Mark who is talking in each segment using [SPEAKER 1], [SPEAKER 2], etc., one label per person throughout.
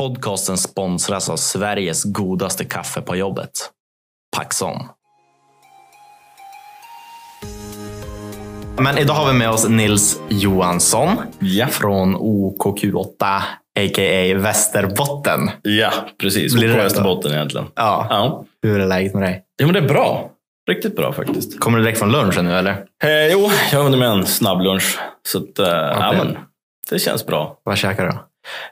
[SPEAKER 1] Podcasten sponsras av Sveriges godaste kaffe på jobbet. Paxon. Men idag har vi med oss Nils Johansson
[SPEAKER 2] Ja,
[SPEAKER 1] från OKQ8, a.k.a. Västerbotten.
[SPEAKER 2] ja precis.
[SPEAKER 1] Blir det
[SPEAKER 2] på
[SPEAKER 1] rätt då?
[SPEAKER 2] Västerbotten egentligen.
[SPEAKER 1] Ja,
[SPEAKER 2] Ja.
[SPEAKER 1] hur är läget med dig?
[SPEAKER 2] Jo, men det är bra. Riktigt bra faktiskt.
[SPEAKER 1] Kommer du direkt från lunchen nu eller?
[SPEAKER 2] Eh, jo, jag har hunnit med en snabblunch. Så att, eh, ja, men, det känns bra.
[SPEAKER 1] Vad käkar du?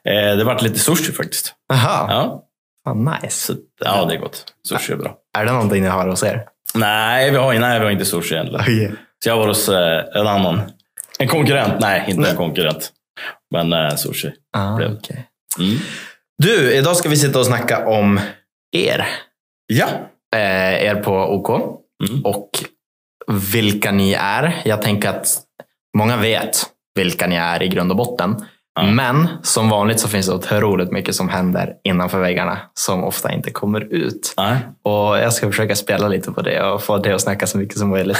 [SPEAKER 2] Eh, det vart lite sushi faktiskt.
[SPEAKER 1] Jaha,
[SPEAKER 2] Ja,
[SPEAKER 1] fan nice.
[SPEAKER 2] så, att- ja det är gott. Sushi är bra.
[SPEAKER 1] Är det någonting ni har hos er?
[SPEAKER 2] Nej, vi har, nej, vi har inte sushi egentligen. Så jag var hos eh, en annan. En konkurrent? Nej, inte en konkurrent. Men eh, sushi.
[SPEAKER 1] Ah,
[SPEAKER 2] Blev.
[SPEAKER 1] okej.
[SPEAKER 2] Mm.
[SPEAKER 1] Du, idag ska vi sitta och snacka om er.
[SPEAKER 2] Ja.
[SPEAKER 1] eh, er på OK
[SPEAKER 2] Mm.
[SPEAKER 1] och vilka ni är. Jag tänker att många vet vilka ni är i grund och botten.
[SPEAKER 2] Ja.
[SPEAKER 1] Men som vanligt så finns det otroligt mycket som händer innanför väggarna som ofta inte kommer ut.
[SPEAKER 2] Nej.
[SPEAKER 1] Och Jag ska försöka spela lite på det och få det att snacka så mycket som möjligt.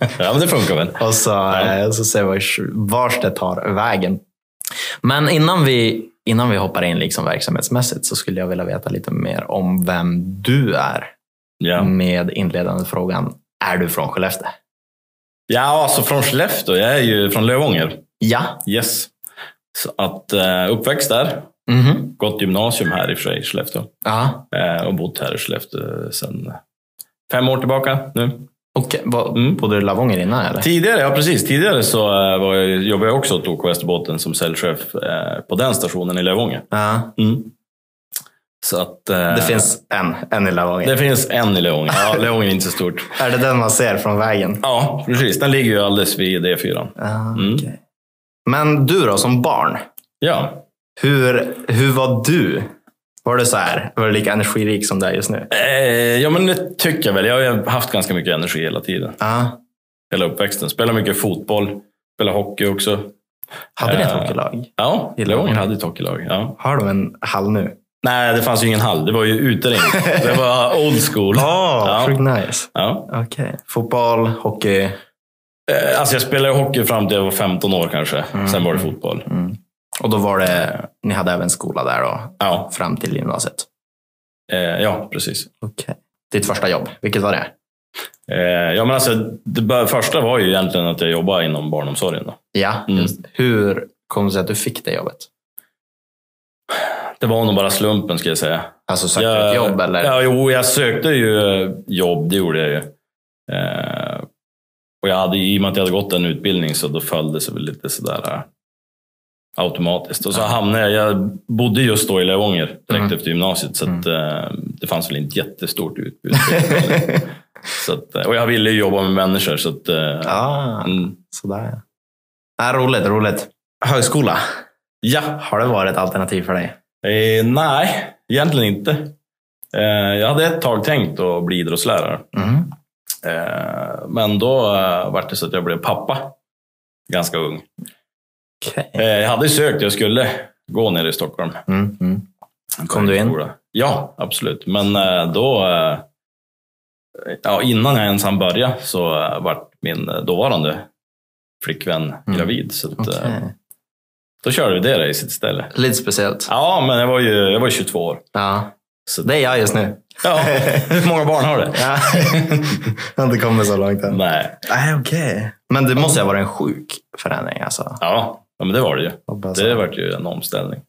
[SPEAKER 2] ja, men det funkar väl.
[SPEAKER 1] Och så, eh, så ser vi vars det tar vägen. Men innan vi, innan vi hoppar in liksom verksamhetsmässigt så skulle jag vilja veta lite mer om vem du är
[SPEAKER 2] Ja.
[SPEAKER 1] med inledande frågan. Är du från Skellefteå?
[SPEAKER 2] ja, alltså från Skellefteå. Jag är ju från Lövånger.
[SPEAKER 1] Ja.
[SPEAKER 2] Yes. Så att eh, uppväxt där,
[SPEAKER 1] Mhm.
[SPEAKER 2] gått gymnasium här i och för sig, i Skellefteå
[SPEAKER 1] Ja.
[SPEAKER 2] eh, och bott här i Skellefteå sedan fem år tillbaka nu.
[SPEAKER 1] Och vad-
[SPEAKER 2] Mm.
[SPEAKER 1] bodde du i Lavånger innan eller?
[SPEAKER 2] Tidigare, ja precis, tidigare så eh, var jag, jobbade jag också åt OK Västerbotten som säljchef eh, på den stationen i Lövånger. Mm.
[SPEAKER 1] Ja.
[SPEAKER 2] Så att, eh,
[SPEAKER 1] Det finns en, en i Lavånger.
[SPEAKER 2] det finns en i Lövånger. Ja, Lövånger är inte så stort.
[SPEAKER 1] Är det den man ser från vägen?
[SPEAKER 2] Ja, precis. Den ligger ju alldeles vid E4.
[SPEAKER 1] Ah,
[SPEAKER 2] Mm.
[SPEAKER 1] okej. Men du då, som barn.
[SPEAKER 2] Ja.
[SPEAKER 1] Hur, hur var du? Var du så här? Var du lika energirik som du är just nu?
[SPEAKER 2] Eh, ja, men det tycker jag väl. Jag har ju haft ganska mycket energi hela tiden.
[SPEAKER 1] Ja.
[SPEAKER 2] Hela uppväxten. Spelar mycket fotboll. Spelar hockey också.
[SPEAKER 1] Hade ni ett
[SPEAKER 2] Eh.
[SPEAKER 1] hockeylag?
[SPEAKER 2] Ja,
[SPEAKER 1] I
[SPEAKER 2] Lövånger
[SPEAKER 1] Lövånger.
[SPEAKER 2] hade ett hockeylag. Ja.
[SPEAKER 1] Har de en hall nu?
[SPEAKER 2] Nej, det fanns ju ingen hall. Det var ju uterring. Det var old school.
[SPEAKER 1] Oh,
[SPEAKER 2] Ja.
[SPEAKER 1] sjukt nice.
[SPEAKER 2] Ja.
[SPEAKER 1] Okej. Fotboll, hockey.
[SPEAKER 2] Eh, Alltså jag spelade hockey fram till jag var 15 år kanske. Sen var det fotboll.
[SPEAKER 1] Och då var det, ni hade även skola där då,
[SPEAKER 2] Ja,
[SPEAKER 1] fram till gymnasiet?
[SPEAKER 2] eh, ja precis.
[SPEAKER 1] Okej. Ditt första jobb, vilket var det?
[SPEAKER 2] Eh, Ja, men alltså, det bör- första var ju egentligen att jag jobbade inom barnomsorgen. Då.
[SPEAKER 1] Ja,
[SPEAKER 2] Mm.
[SPEAKER 1] just. Hur kom det sig att du fick det jobbet?
[SPEAKER 2] Det var nog bara slumpen ska jag säga.
[SPEAKER 1] Alltså sökte du ett jobb eller?
[SPEAKER 2] Ja, jo, jag sökte ju eh, jobb, det gjorde jag ju. Eh, och jag hade, I och med att jag hade gått en utbildning så då föll det sig väl lite sådär eh, automatiskt. Och så hamnade jag, jag bodde just då i Lövånger direkt
[SPEAKER 1] Mm.
[SPEAKER 2] efter gymnasiet så att, eh, det fanns väl inte jättestort utbud. så att, eh, och jag ville ju jobba med människor så att, eh,
[SPEAKER 1] ah,
[SPEAKER 2] mm,
[SPEAKER 1] sådär ja. Ah, roligt, roligt. Högskola,
[SPEAKER 2] ja.
[SPEAKER 1] har det varit ett alternativ för dig?
[SPEAKER 2] Eh, nej, egentligen inte. Eh, jag hade ett tag tänkt att bli idrottslärare.
[SPEAKER 1] Mm.
[SPEAKER 2] Eh, Men då eh, var det så att jag blev pappa ganska ung.
[SPEAKER 1] Okej.
[SPEAKER 2] Eh, Jag hade sökt, jag skulle gå ner i Stockholm.
[SPEAKER 1] Mm, mm. Kom du in?
[SPEAKER 2] Skola. Ja, absolut. Men eh, då, eh, ja, innan jag ens hann börja så var min eh, dåvarande flickvän gravid. Så att, eh,
[SPEAKER 1] Mm. Okej.
[SPEAKER 2] då körde vi det där i sitt ställe.
[SPEAKER 1] Lite speciellt.
[SPEAKER 2] Ja, men jag var ju, jag var ju 22 år.
[SPEAKER 1] Ja.
[SPEAKER 2] Så-
[SPEAKER 1] Det är jag just nu.
[SPEAKER 2] Ja, hur många barn har du?
[SPEAKER 1] Ja. jag har inte kommit så långt än.
[SPEAKER 2] Nej,
[SPEAKER 1] Nej, okej. Men det måste ju ha varit en sjuk förändring alltså.
[SPEAKER 2] ja, ja, men det var det ju.
[SPEAKER 1] Hoppas
[SPEAKER 2] Det
[SPEAKER 1] jag.
[SPEAKER 2] var ju en omställning.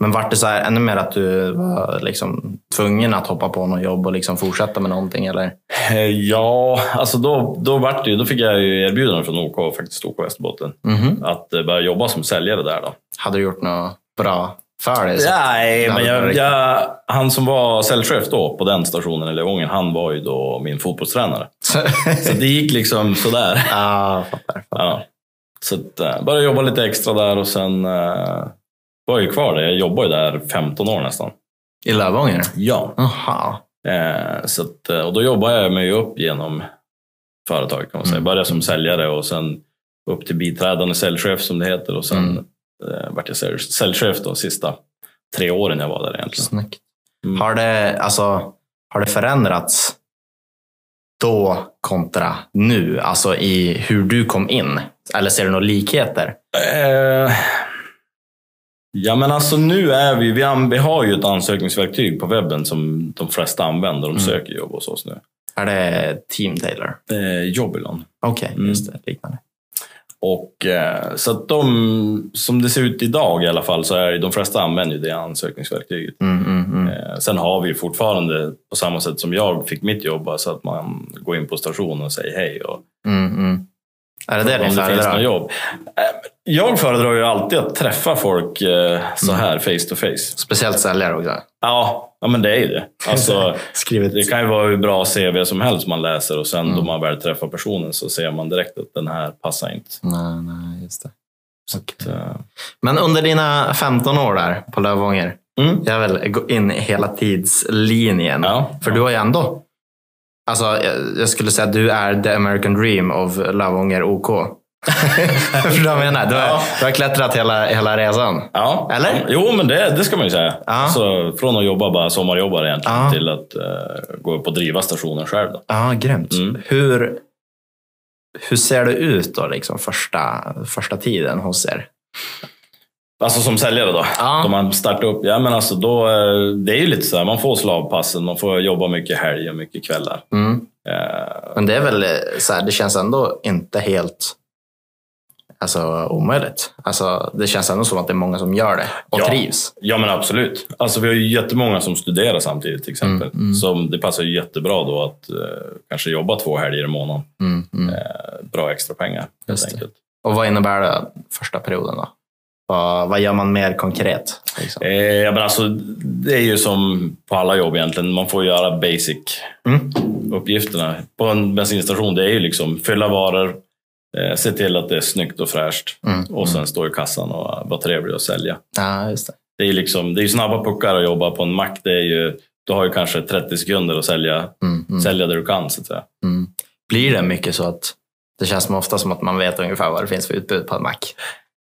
[SPEAKER 1] Men vart det så här ännu mer att du var liksom tvungen att hoppa på något jobb och liksom fortsätta med någonting? Eller?
[SPEAKER 2] Eh, Ja, alltså då, då, vart det, ju- då fick jag ju erbjudande från OK, faktiskt OK Västerbotten,
[SPEAKER 1] Mhm.
[SPEAKER 2] att eh, börja jobba som säljare där. då.
[SPEAKER 1] Hade du gjort något bra för dig? så-
[SPEAKER 2] Nej, men
[SPEAKER 1] det var
[SPEAKER 2] jag,
[SPEAKER 1] riktigt.
[SPEAKER 2] jag, han som var säljchef då på den stationen i Lövånger, han var ju då min fotbollstränare. Så det gick liksom sådär.
[SPEAKER 1] ah, fattar, fattar.
[SPEAKER 2] Ja. Så att, eh, började jobba lite extra där och sen eh, var jag ju kvar där. Jag jobbade ju där 15 år nästan.
[SPEAKER 1] I Lövånger?
[SPEAKER 2] Ja.
[SPEAKER 1] Jaha.
[SPEAKER 2] Eh, så att, eh, och då jobbade jag mig upp genom företaget kan man säga.
[SPEAKER 1] Mm.
[SPEAKER 2] Började som säljare och sen upp till biträdande säljchef som det heter och sen
[SPEAKER 1] Mm.
[SPEAKER 2] eh, vart jag sälj- säljchef de sista tre åren jag var där egentligen.
[SPEAKER 1] Snyggt.
[SPEAKER 2] Mm.
[SPEAKER 1] Har, det, alltså, har det förändrats då kontra nu? Alltså i hur du kom in? Eller ser du några likheter?
[SPEAKER 2] Eh, Ja, men alltså nu är vi, vi, an- vi har ju ett ansökningsverktyg på webben som de flesta använder. De söker jobb hos oss nu.
[SPEAKER 1] Är det Team Taylor?
[SPEAKER 2] Eh, Jobilon.
[SPEAKER 1] Okej,
[SPEAKER 2] Mm.
[SPEAKER 1] just det. Liknande.
[SPEAKER 2] Och, eh, så att de, som det ser ut idag i alla fall, så är ju- de flesta använder ju det ansökningsverktyget.
[SPEAKER 1] Mm, mm, mm.
[SPEAKER 2] Eh, Sen har vi fortfarande, på samma sätt som jag fick mitt jobb, alltså att man går in på stationen och säger hej. Och,
[SPEAKER 1] Mm, mm. Är det det
[SPEAKER 2] om
[SPEAKER 1] ni
[SPEAKER 2] det finns något
[SPEAKER 1] föredrar?
[SPEAKER 2] jobb. Eh, Jag föredrar ju alltid att träffa folk eh, så
[SPEAKER 1] Mm.
[SPEAKER 2] här face to face.
[SPEAKER 1] Speciellt säljare också.
[SPEAKER 2] Ja, ja men det är ju det. Alltså,
[SPEAKER 1] Skrivet.
[SPEAKER 2] det kan ju vara hur bra CV som helst man läser och sen då
[SPEAKER 1] Mm.
[SPEAKER 2] man väl träffar personen så ser man direkt att den här passar inte.
[SPEAKER 1] Nej, nej, just det.
[SPEAKER 2] Så, eh,
[SPEAKER 1] Men under dina 15 år där på Lövånger,
[SPEAKER 2] Mm.
[SPEAKER 1] jag vill gå in i hela tidslinjen.
[SPEAKER 2] Ja.
[SPEAKER 1] För du har ju ändå, alltså, jag- jag skulle säga att du är the American dream of Lövånger OK. Förstår du vad jag menar? Du har,
[SPEAKER 2] Ja.
[SPEAKER 1] du har klättrat hela, hela resan.
[SPEAKER 2] Ja.
[SPEAKER 1] Eller?
[SPEAKER 2] Jo, men det, det ska man ju säga.
[SPEAKER 1] Ja.
[SPEAKER 2] Så från att jobba bara sommarjobbare egentligen
[SPEAKER 1] Ja.
[SPEAKER 2] till att eh, gå upp och driva stationen själv. Då.
[SPEAKER 1] Ja, grymt.
[SPEAKER 2] Mm.
[SPEAKER 1] Hur, hur ser det ut då, liksom, första, första tiden hos er?
[SPEAKER 2] Alltså som säljare då.
[SPEAKER 1] Ja.
[SPEAKER 2] Då man startar upp. Ja, men alltså då, eh, det är ju lite så här, man får slavpassen, man får jobba mycket helg och mycket kvällar.
[SPEAKER 1] Mm.
[SPEAKER 2] Eh,
[SPEAKER 1] Men det är väl eh, så här, det känns ändå inte helt alltså, omöjligt. Alltså, det känns ändå som att det är många som gör det och
[SPEAKER 2] Ja.
[SPEAKER 1] trivs.
[SPEAKER 2] ja men absolut. Alltså vi har ju jättemånga som studerar samtidigt till exempel.
[SPEAKER 1] Mm, mm.
[SPEAKER 2] Så det passar ju jättebra då att eh, kanske jobba två helger i månaden. Eh,
[SPEAKER 1] Mm, mm.
[SPEAKER 2] Bra extra pengar
[SPEAKER 1] Just
[SPEAKER 2] helt
[SPEAKER 1] det.
[SPEAKER 2] enkelt.
[SPEAKER 1] Och vad innebär det första perioden då? Vad, vad gör man mer konkret? Liksom?
[SPEAKER 2] Eh, ja, men alltså, det är ju som på alla jobb egentligen. Man får göra basic
[SPEAKER 1] Mm.
[SPEAKER 2] uppgifterna. På en bensinstation, det är ju liksom fylla varor, eh, se till att det är snyggt och fräscht
[SPEAKER 1] Mm.
[SPEAKER 2] och sen stå i kassan och vara trevlig och sälja.
[SPEAKER 1] Ja, just det.
[SPEAKER 2] Det är ju liksom, det är ju snabba puckar att jobba på en mack. Det är ju, du har ju kanske 30 sekunder att sälja,
[SPEAKER 1] Mm, mm,
[SPEAKER 2] sälja det du kan. Så att säga.
[SPEAKER 1] mm. Blir det mycket så att det känns som ofta som att man vet ungefär vad det finns för utbud på en mack?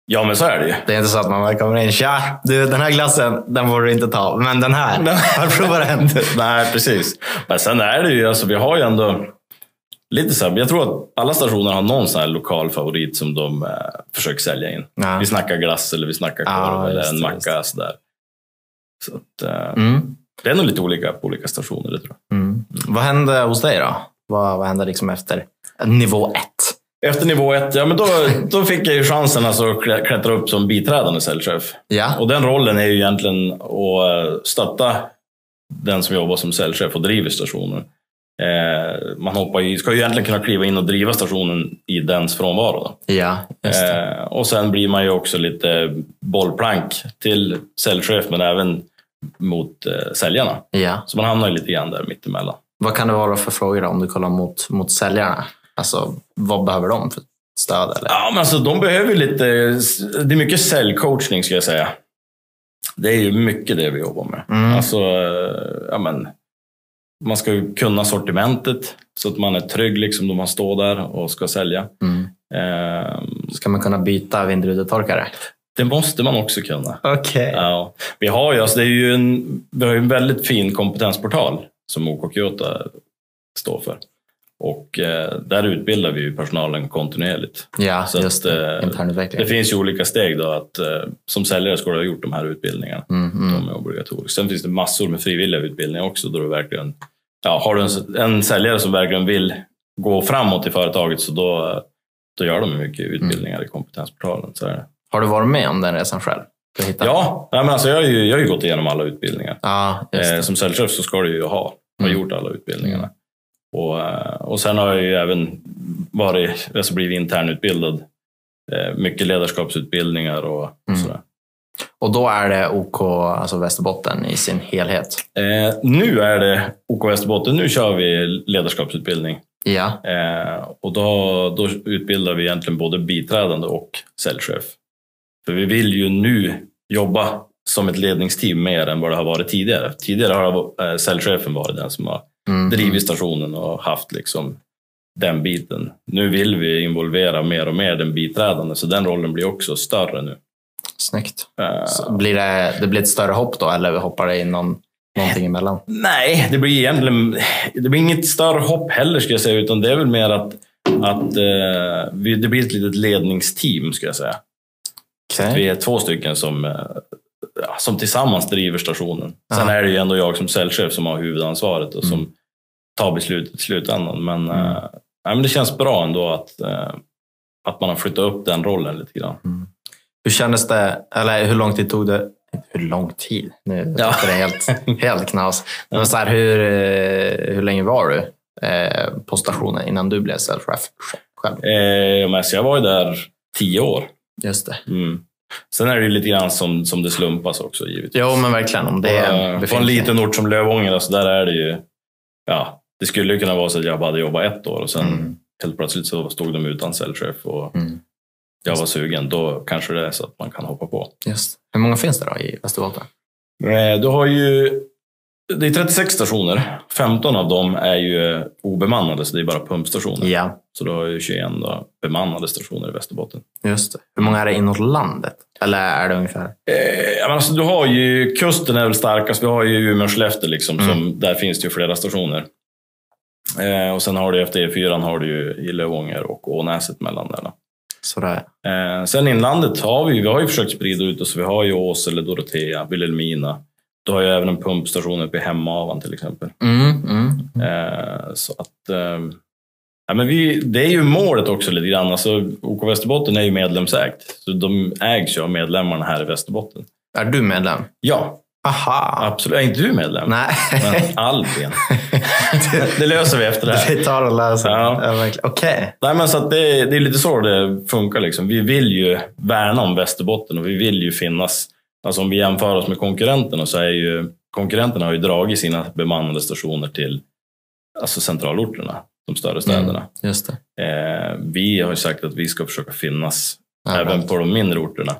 [SPEAKER 2] Ja, men så är det ju.
[SPEAKER 1] Det är inte så att man bara kommer in, tja, du, den här glassen, den borde du inte ta, men den här, har du provat den?
[SPEAKER 2] Nej, precis. Men sen är det ju, alltså, vi har ju ändå lite så här, jag tror att alla stationer har någon sån här lokal favorit som de eh, försöker sälja in.
[SPEAKER 1] Ja.
[SPEAKER 2] Vi snackar glass eller vi snackar korv
[SPEAKER 1] Ja,
[SPEAKER 2] eller
[SPEAKER 1] just
[SPEAKER 2] en
[SPEAKER 1] det,
[SPEAKER 2] macka. Så där. Så att, eh,
[SPEAKER 1] Mm.
[SPEAKER 2] Det är nog lite olika på olika stationer, det tror jag.
[SPEAKER 1] Mm. Vad hände hos dig då? Vad, vad hände liksom efter nivå ett?
[SPEAKER 2] Efter nivå ett, ja men då, då fick jag ju chansen alltså att klä- klättra upp som biträdande säljchef.
[SPEAKER 1] Ja.
[SPEAKER 2] Och den rollen är ju egentligen att eh, stötta den som jobbar som säljchef och driver stationen. Eh, Man hoppar ju, ska ju egentligen kunna kliva in och driva stationen i dens frånvaro. Då.
[SPEAKER 1] Ja, just det.
[SPEAKER 2] Eh, Och sen blir man ju också lite bollplank till säljchef men även mot eh, säljarna.
[SPEAKER 1] Ja.
[SPEAKER 2] Så man hamnar ju lite grann där mittemellan.
[SPEAKER 1] Vad kan det vara för frågor då, om du kollar mot, mot säljarna? Alltså, vad behöver de för stöd? Eller?
[SPEAKER 2] Ja, men alltså de behöver ju lite... Det är mycket säljcoachning ska jag säga. Det är ju mycket det vi jobbar med.
[SPEAKER 1] Mm.
[SPEAKER 2] Alltså, eh, ja men. Man ska ju kunna sortimentet så att man är trygg liksom då man står där och ska sälja.
[SPEAKER 1] Mm.
[SPEAKER 2] Eh,
[SPEAKER 1] Ska man kunna byta vindrutetorkare?
[SPEAKER 2] Det måste man också kunna.
[SPEAKER 1] Okej.
[SPEAKER 2] Ja, vi har ju, alltså det är ju en, vi har ju en väldigt fin kompetensportal som OK Kyoto står för. Och eh, där utbildar vi ju personalen kontinuerligt.
[SPEAKER 1] Ja,
[SPEAKER 2] Så att,
[SPEAKER 1] just det.
[SPEAKER 2] eh, Det
[SPEAKER 1] Internutveckling.
[SPEAKER 2] finns ju olika steg då att eh, som säljare ska du ha gjort de här utbildningarna.
[SPEAKER 1] Mm, mm.
[SPEAKER 2] De är obligatoriska. Sen finns det massor med frivilliga utbildningar också. Då du verkligen, ja, har du en, en säljare som verkligen vill gå framåt i företaget så då, då gör de ju mycket utbildningar i kompetensportalen. Så är det.
[SPEAKER 1] Har du varit med om den resan själv? Du hittar-
[SPEAKER 2] Ja, nej, men alltså jag, har ju, jag har ju gått igenom alla utbildningar.
[SPEAKER 1] Ja, just
[SPEAKER 2] Eh,
[SPEAKER 1] det.
[SPEAKER 2] som säljchef så ska du ju ha och
[SPEAKER 1] Mm.
[SPEAKER 2] gjort alla utbildningarna. Och, eh, och sen har jag ju även varit, alltså blivit internutbildad. Eh, Mycket ledarskapsutbildningar och
[SPEAKER 1] Mm.
[SPEAKER 2] sådär.
[SPEAKER 1] Och då är det OK, alltså Västerbotten i sin helhet.
[SPEAKER 2] Eh, nu är det OK Västerbotten, nu kör vi ledarskapsutbildning.
[SPEAKER 1] Ja,
[SPEAKER 2] Eh, och då, då utbildar vi egentligen både biträdande och säljchef. För vi vill ju nu jobba som ett ledningsteam mer än vad det har varit tidigare. Tidigare har eh, säljchefen varit den som har
[SPEAKER 1] mm.
[SPEAKER 2] drivit stationen och haft liksom den biten. Nu vill vi involvera mer och mer den biträdande, så den rollen blir också större nu.
[SPEAKER 1] snyggt.
[SPEAKER 2] Eh,
[SPEAKER 1] Så blir det, det blir ett större hopp då, eller hoppar det in någon, någonting emellan?
[SPEAKER 2] Nej, det blir egentligen det blir inget större hopp heller, ska jag säga, utan det är väl mer att, att eh, vi, det blir ett litet ledningsteam, ska jag säga.
[SPEAKER 1] Okej.
[SPEAKER 2] Vi är två stycken som, eh, ja, som tillsammans driver stationen. Sen
[SPEAKER 1] Ja.
[SPEAKER 2] är det ju ändå jag som säljchef som har huvudansvaret och som tar beslutet i slutändan. Men,
[SPEAKER 1] Mm.
[SPEAKER 2] eh, nej, men det känns bra ändå att, eh, att man har flyttat upp den rollen lite grann.
[SPEAKER 1] Mm. Hur kändes det, eller hur lång tid tog det? Hur lång tid? Nu
[SPEAKER 2] Ja.
[SPEAKER 1] låter det helt, helt knas. Men så här, hur, eh, hur länge var du eh, på stationen innan du blev säljchef själv?
[SPEAKER 2] Eh, men så jag var ju där tio år.
[SPEAKER 1] Just det.
[SPEAKER 2] Mm. Sen är det ju lite grann som, som det slumpas också givetvis.
[SPEAKER 1] Jo, men verkligen. Om det är en
[SPEAKER 2] Eh, på en
[SPEAKER 1] befintlig-
[SPEAKER 2] liten ort som Lövånger, alltså, där är det ju... Ja, det skulle ju kunna vara så att jag bara hade jobbat ett år och sen
[SPEAKER 1] Mm.
[SPEAKER 2] helt plötsligt så stod de utan säljchef och
[SPEAKER 1] Mm.
[SPEAKER 2] jag var sugen. Då kanske det är så att man kan hoppa på.
[SPEAKER 1] Just. Hur många finns det då i Västerbotten?
[SPEAKER 2] Eh, Du har ju... Det är 36 stationer. 15 av dem är ju eh, obemannade, så det är bara pumpstationer.
[SPEAKER 1] Ja,
[SPEAKER 2] Så du har ju 21 då, bemannade stationer i Västerbotten.
[SPEAKER 1] just det. Hur många är det inåt landet? Eller är det ungefär?
[SPEAKER 2] Eh, ja, men alltså, du har ju, kusten är väl starkast. Vi har ju Umeå och Skellefteå, liksom,
[SPEAKER 1] Mm.
[SPEAKER 2] som, där finns det ju flera stationer. Eh, och sen har du efter E4 har du ju i Lövånger och Ånäset mellan där. Då.
[SPEAKER 1] Sådär.
[SPEAKER 2] Eh, sen inlandet har vi, vi har ju försökt sprida ut oss. Vi har ju Åsele, Dorotea, Vilhelmina. Du har ju även en pumpstation uppe i Hemavan till exempel.
[SPEAKER 1] Mm, mm.
[SPEAKER 2] Eh, så att, eh, ja, men vi, det är ju målet också lite grann. Alltså, OK Västerbotten är ju medlemsägt, så de ägs ju av medlemmarna här i Västerbotten.
[SPEAKER 1] Är du medlem?
[SPEAKER 2] Ja,
[SPEAKER 1] Aha!
[SPEAKER 2] Absolut. Är inte du medlem?
[SPEAKER 1] Nej.
[SPEAKER 2] Men Albin. det löser vi efter det här.
[SPEAKER 1] Vi tar och läser.
[SPEAKER 2] Ja.
[SPEAKER 1] Ja. verkligen. Okej.
[SPEAKER 2] Nej, men så att det, det är lite så det funkar. Liksom. Vi vill ju värna om Västerbotten och vi vill ju finnas. Alltså om vi jämför oss med konkurrenterna så är ju konkurrenterna har ju dragit sina bemannade stationer till alltså centralorterna, de
[SPEAKER 1] Mm.
[SPEAKER 2] större städerna.
[SPEAKER 1] Just det.
[SPEAKER 2] Eh, vi har ju sagt att vi ska försöka finnas
[SPEAKER 1] Ja,
[SPEAKER 2] även
[SPEAKER 1] bra.
[SPEAKER 2] på de mindre orterna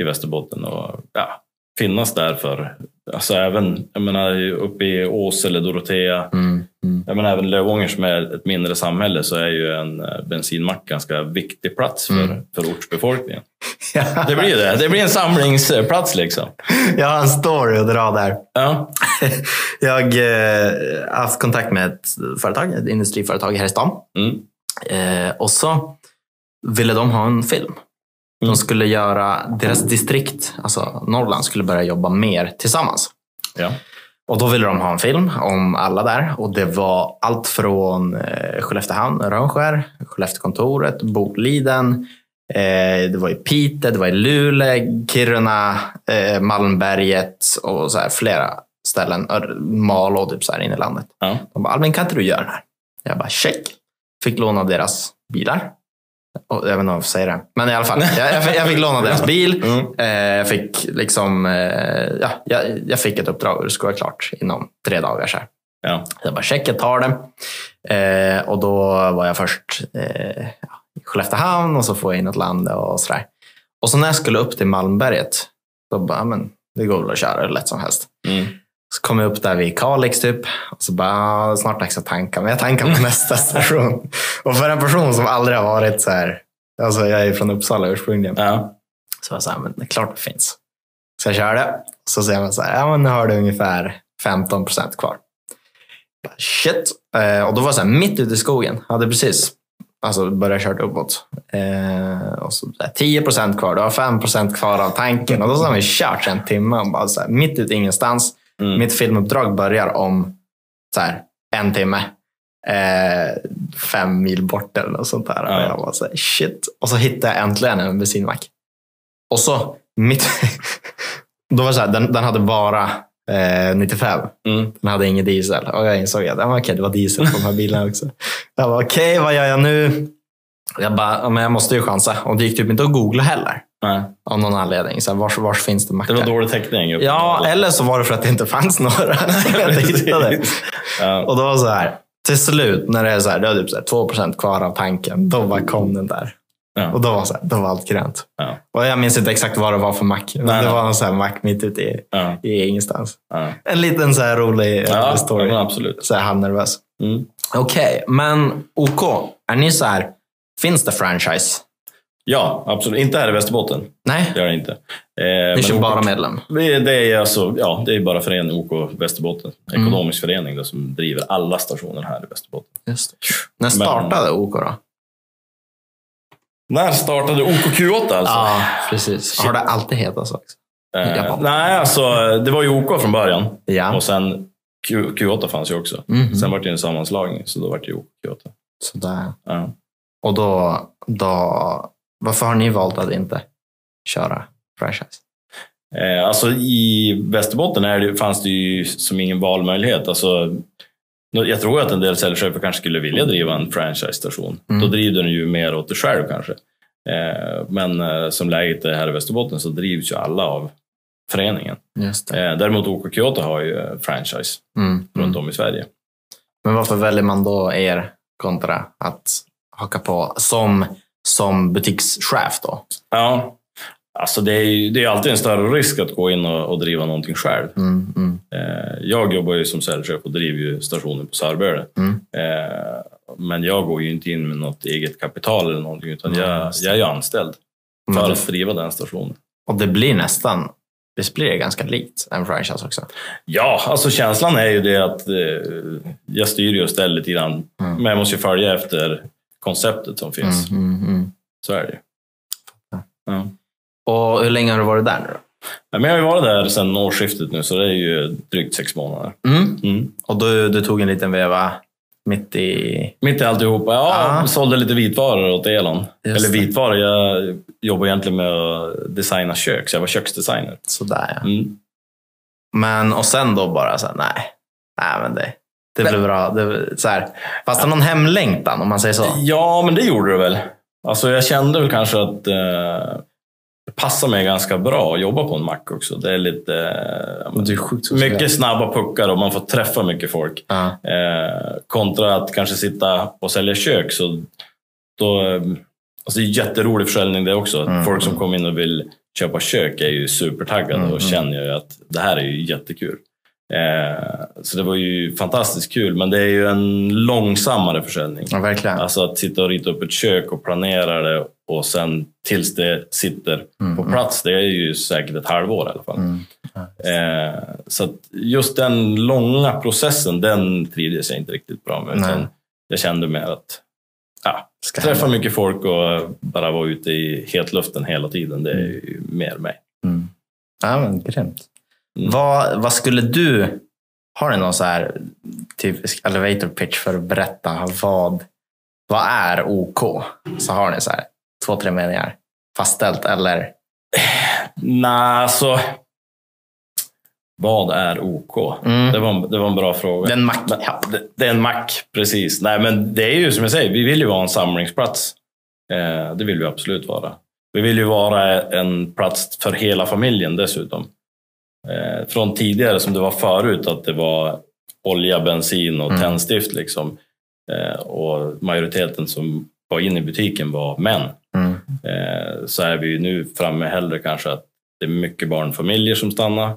[SPEAKER 2] i Västerbotten. Och, ja, finnas där för, alltså även jag menar, uppe i Åsele, Dorotea,
[SPEAKER 1] Mm, mm.
[SPEAKER 2] jag menar, även Lövånger som är ett mindre samhälle så är ju en eh, bensinmack ganska viktig plats för,
[SPEAKER 1] Mm.
[SPEAKER 2] för ortsbefolkningen. Det blir det. Det blir en samlingsplats liksom.
[SPEAKER 1] Jag har en story att dra där.
[SPEAKER 2] Ja.
[SPEAKER 1] Jag eh, har haft kontakt med ett företag, ett industriföretag här i stan.
[SPEAKER 2] Mm.
[SPEAKER 1] Eh, och så ville de ha en film.
[SPEAKER 2] Mm.
[SPEAKER 1] De skulle göra, deras distrikt, alltså Norrland, skulle börja jobba mer tillsammans.
[SPEAKER 2] Ja.
[SPEAKER 1] Och då ville de ha en film om alla där. Och det var allt från eh, Skelleftehamn, Rönnskär, Skellefteåkontoret, Boliden. Eh, det var i Piteå, det var i Luleå, Kiruna, eh, Malmberget och så här, flera ställen. Ör- Malå, typ så här inne i landet.
[SPEAKER 2] Ja.
[SPEAKER 1] De bara, Albin kan inte du göra den här? Jag bara, check. Fick låna deras bilar. Och, jag vet inte om jag får säga det. Men i alla fall, jag, jag, fick, jag fick låna deras bil.
[SPEAKER 2] Mm.
[SPEAKER 1] Eh, Jag fick, liksom, eh, ja, jag, jag fick ett uppdrag och det skulle vara klart inom tre dagar. Så här.
[SPEAKER 2] Ja.
[SPEAKER 1] Jag bara, check, jag tar det. Eh, och då var jag först eh, ja, i Skelleftehamn och så får jag in ett land och sådär. Och så när jag skulle upp till Malmberget, då bara, "Ja, men det går väl att köra hur lätt som helst.
[SPEAKER 2] Mm.
[SPEAKER 1] Så kom jag upp där vid Kalix typ. Och så bara, "Ah, snart dags att tanka. Men jag tankar på nästa station. Och för en person som aldrig har varit så här. Alltså jag är ju från Uppsala ursprungligen.
[SPEAKER 2] Ja.
[SPEAKER 1] Så jag sa, men det är klart det finns. Så jag körde. Så ser man så här, ja men nu har du ungefär 15 procent kvar. Bara, Shit. Eh, och då var jag så här, mitt ute i skogen. Hade precis alltså börjat kört uppåt. Eh, och så där, 10 procent kvar. Du har 5 procent kvar av tanken. Och då så har vi kört en timme. Och bara så här, mitt ute i ingenstans.
[SPEAKER 2] Mm.
[SPEAKER 1] Mitt filmuppdrag börjar om så här, en timme. Eh, fem mil bort eller något sånt där.
[SPEAKER 2] Ja.
[SPEAKER 1] Och jag bara så här, shit. Och så hittade jag äntligen en bensinmack. Och så, mitt, då var det så här, den, den hade bara eh, 95.
[SPEAKER 2] Mm.
[SPEAKER 1] Den hade ingen diesel. Och jag insåg att ja, men okej, det var diesel på de här bilarna också. Jag bara, okej, vad gör jag nu? Jag bara, ja, men jag måste ju chansa. Och det gick typ inte att googla heller.
[SPEAKER 2] Nej.
[SPEAKER 1] Av någon anledning. Så här, vars, vars finns det
[SPEAKER 2] Det var
[SPEAKER 1] mackar?
[SPEAKER 2] dålig täckning. uppe.
[SPEAKER 1] Ja, eller så var det för att det inte fanns några. som jag inte hittade.
[SPEAKER 2] Ja.
[SPEAKER 1] Och då var så här, till slut när det är så här, det är typ så här 2% kvar av tanken, då bara kom den där.
[SPEAKER 2] Ja.
[SPEAKER 1] Och då var, så här, då var allt grönt.
[SPEAKER 2] Ja.
[SPEAKER 1] Och jag minns inte exakt vad det var för mack, men
[SPEAKER 2] Nej,
[SPEAKER 1] det
[SPEAKER 2] nej.
[SPEAKER 1] var en sån här mack mitt ute i,
[SPEAKER 2] Ja.
[SPEAKER 1] i ingenstans.
[SPEAKER 2] Ja.
[SPEAKER 1] En liten så här rolig eh,
[SPEAKER 2] Ja.
[SPEAKER 1] story.
[SPEAKER 2] men absolut.
[SPEAKER 1] Så här halvnervös.
[SPEAKER 2] Mm.
[SPEAKER 1] Okej, men OK. Är ni så här, finns det franchise?
[SPEAKER 2] Ja, absolut. Inte här i Västerbotten.
[SPEAKER 1] Nej,
[SPEAKER 2] Det gör det inte. Eh,
[SPEAKER 1] ni kör
[SPEAKER 2] men
[SPEAKER 1] bara
[SPEAKER 2] OK-
[SPEAKER 1] medlem.
[SPEAKER 2] Det är, det är alltså, ja, det är bara förening OK Västerbotten.
[SPEAKER 1] Mm.
[SPEAKER 2] Ekonomisk förening då, som driver alla stationer här i Västerbotten.
[SPEAKER 1] När
[SPEAKER 2] Men-
[SPEAKER 1] startade OK då?
[SPEAKER 2] När startade OKQ8 alltså?
[SPEAKER 1] Ja, precis. Har det alltid hetat så? Också?
[SPEAKER 2] eh,
[SPEAKER 1] Japan.
[SPEAKER 2] nej, alltså det var ju OK från början.
[SPEAKER 1] Ja.
[SPEAKER 2] Och sen Q, Q8 fanns ju också.
[SPEAKER 1] Mhm.
[SPEAKER 2] Sen var det ju en sammanslagning, så då var det ju OK Q8.
[SPEAKER 1] Sådär.
[SPEAKER 2] Ja.
[SPEAKER 1] Och då, då... Varför har ni valt att inte köra franchise?
[SPEAKER 2] Eh, alltså i Västerbotten är det, fanns det ju som ingen valmöjlighet. Alltså, nå- jag tror att en del säljchefer kanske skulle vilja driva en franchise-station.
[SPEAKER 1] Mm.
[SPEAKER 2] Då driver den ju mer åt det själv kanske. Eh, men eh, som läget är här i Västerbotten så drivs ju alla av föreningen.
[SPEAKER 1] Just det.
[SPEAKER 2] Eh, däremot OK Kyoto har ju eh, franchise
[SPEAKER 1] Mm.
[SPEAKER 2] runt
[SPEAKER 1] Mm.
[SPEAKER 2] om i Sverige.
[SPEAKER 1] Men varför väljer man då er kontra att haka på som, som butikschef då?
[SPEAKER 2] Ja, alltså det är ju det är alltid en större risk att gå in och, och driva någonting själv.
[SPEAKER 1] Mm, mm,
[SPEAKER 2] Eh, jag jobbar ju som säljchef och driver ju stationen på Sörböle.
[SPEAKER 1] mm.
[SPEAKER 2] Eh, Men jag går ju inte in med något eget kapital eller någonting, utan
[SPEAKER 1] Nej,
[SPEAKER 2] jag,
[SPEAKER 1] Mm, just det. Mm.
[SPEAKER 2] jag är ju anställd
[SPEAKER 1] Men
[SPEAKER 2] för
[SPEAKER 1] då-
[SPEAKER 2] att driva den stationen.
[SPEAKER 1] Och det blir nästan, det blir ganska likt en franchise också.
[SPEAKER 2] Ja, alltså känslan är ju det att eh, jag styr ju och ställer lite grann,
[SPEAKER 1] Mm.
[SPEAKER 2] men jag måste ju följa efter konceptet som finns.
[SPEAKER 1] Mm, mm, mm.
[SPEAKER 2] Så är det ju. Ja.
[SPEAKER 1] Och hur länge har du varit där nu då?
[SPEAKER 2] Ja, Men jag har ju varit där sedan årsskiftet nu, så det är ju drygt sex månader.
[SPEAKER 1] Mm. Och du, du tog en liten veva mitt i...
[SPEAKER 2] Mitt i alltihopa, ja,
[SPEAKER 1] Ah.
[SPEAKER 2] sålde lite vitvaror åt Elon.
[SPEAKER 1] Just
[SPEAKER 2] Eller
[SPEAKER 1] det.
[SPEAKER 2] vitvaror, jag jobbar egentligen med att designa kök, så jag var köksdesigner.
[SPEAKER 1] Sådär ja.
[SPEAKER 2] Mm.
[SPEAKER 1] Men och sen då bara så här, nej. Nej men det, det blev bra. Det, så här. Fast det är någon hemlängtan om man säger så.
[SPEAKER 2] Ja, men det gjorde det väl. Alltså, jag kände väl kanske att eh, det passar mig ganska bra att jobba på en mack också. Det är lite eh, ja, men
[SPEAKER 1] är sjukt
[SPEAKER 2] mycket snabba puckar och man får träffa mycket folk.
[SPEAKER 1] Ja.
[SPEAKER 2] Eh, kontra att kanske sitta och sälja kök. Så då, eh, alltså, det är jätterolig försäljning det också.
[SPEAKER 1] Mm,
[SPEAKER 2] Folk som kommer in och vill köpa kök är ju supertaggade
[SPEAKER 1] Mm, mm.
[SPEAKER 2] och känner ju att det här är ju jättekul. Eh, så det var ju fantastiskt kul, men det är ju en långsammare försäljning.
[SPEAKER 1] ja, verkligen.
[SPEAKER 2] Alltså att sitta och rita upp ett kök och planera det och sen tills det sitter
[SPEAKER 1] Mm,
[SPEAKER 2] på
[SPEAKER 1] mm.
[SPEAKER 2] plats. Det är ju säkert ett halvår i alla fall.
[SPEAKER 1] Mm. Ja.
[SPEAKER 2] Eh, så att just den långa processen, den trivdes jag inte riktigt bra med. Utan
[SPEAKER 1] Nej.
[SPEAKER 2] jag kände mer att ja,
[SPEAKER 1] Ska
[SPEAKER 2] träffa
[SPEAKER 1] hända.
[SPEAKER 2] mycket folk och bara vara ute i hetluften hela tiden, det är ju mer mig.
[SPEAKER 1] Mm. Ja, men grymt.
[SPEAKER 2] Mm.
[SPEAKER 1] Vad, vad skulle du... Har du någon så här typisk elevator pitch för att berätta vad, vad är OK? Så har ni så här två, tre meningar fastställt eller...
[SPEAKER 2] Nej, alltså. Vad är OK?
[SPEAKER 1] Mm.
[SPEAKER 2] Det, var en, det var en bra fråga.
[SPEAKER 1] Den mack...
[SPEAKER 2] Men-
[SPEAKER 1] Ja.
[SPEAKER 2] Det, det är en mack, precis. Nej, men det är ju som jag säger, vi vill ju vara en samlingsplats. Eh, det vill vi absolut vara. Vi vill ju vara en plats för hela familjen dessutom. Eh, från tidigare som det var förut, att det var olja, bensin och
[SPEAKER 1] Mm.
[SPEAKER 2] tändstift. Liksom. Eh, och majoriteten som var inne i butiken var män.
[SPEAKER 1] Mm.
[SPEAKER 2] Eh, så är vi ju nu framme hellre kanske att det är mycket barnfamiljer som stannar.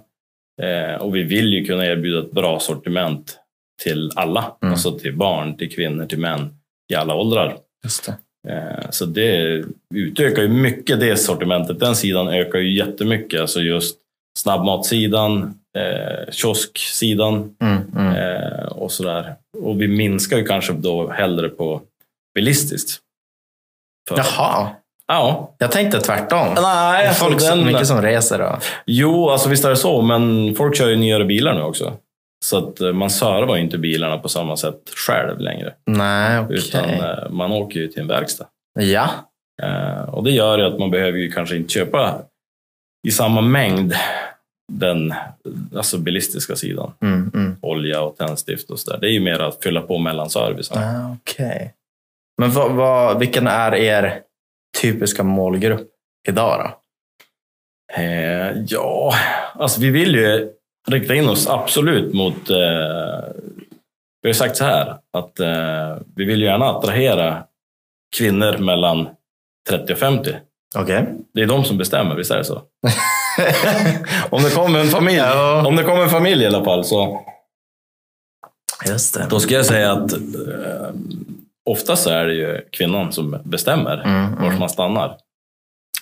[SPEAKER 2] Eh, och vi vill ju kunna erbjuda ett bra sortiment till alla.
[SPEAKER 1] Mm.
[SPEAKER 2] Alltså till barn, till kvinnor, till män i alla åldrar.
[SPEAKER 1] Just det.
[SPEAKER 2] Eh, så det utökar ju mycket det sortimentet. Den sidan ökar ju jättemycket. Alltså just snabbmatsidan, eh, kiosksidan
[SPEAKER 1] Mm. Mm.
[SPEAKER 2] eh, och sådär. Och vi minskar ju kanske då hellre på bilistiskt. För-
[SPEAKER 1] Jaha,
[SPEAKER 2] Ja,
[SPEAKER 1] jag tänkte tvärtom.
[SPEAKER 2] Nej, alltså
[SPEAKER 1] Folk, så
[SPEAKER 2] den,
[SPEAKER 1] mycket som reser och...
[SPEAKER 2] Jo, alltså visst är det så, men folk kör ju nyare bilar nu också. Så att eh, man servar ju inte bilarna på samma sätt själv längre.
[SPEAKER 1] Nej, okej.
[SPEAKER 2] Utan eh, man åker ju till en verkstad.
[SPEAKER 1] Ja.
[SPEAKER 2] Eh, Och det gör ju att man behöver ju kanske inte köpa i samma mängd den alltså bilistiska sidan.
[SPEAKER 1] Mm. Mm.
[SPEAKER 2] Olja och tändstift och sådär. Det är ju mer att fylla på mellan servicen.
[SPEAKER 1] Ah, Okej. Men vad, vad, vilken är er typiska målgrupp idag då?
[SPEAKER 2] Eh, ja, alltså vi vill ju rikta in oss absolut mot... Eh, vi har ju sagt så här, att eh, vi vill ju gärna attrahera kvinnor mellan 30 och 50.
[SPEAKER 1] Okej.
[SPEAKER 2] Det är de som bestämmer, visst är det så? Om det kommer en familj,
[SPEAKER 1] Ja.
[SPEAKER 2] om det kommer en familj i alla fall så...
[SPEAKER 1] Just det.
[SPEAKER 2] Då ska jag säga att eh, oftast så är det ju kvinnan som bestämmer
[SPEAKER 1] Mm,
[SPEAKER 2] var
[SPEAKER 1] mm.
[SPEAKER 2] man stannar.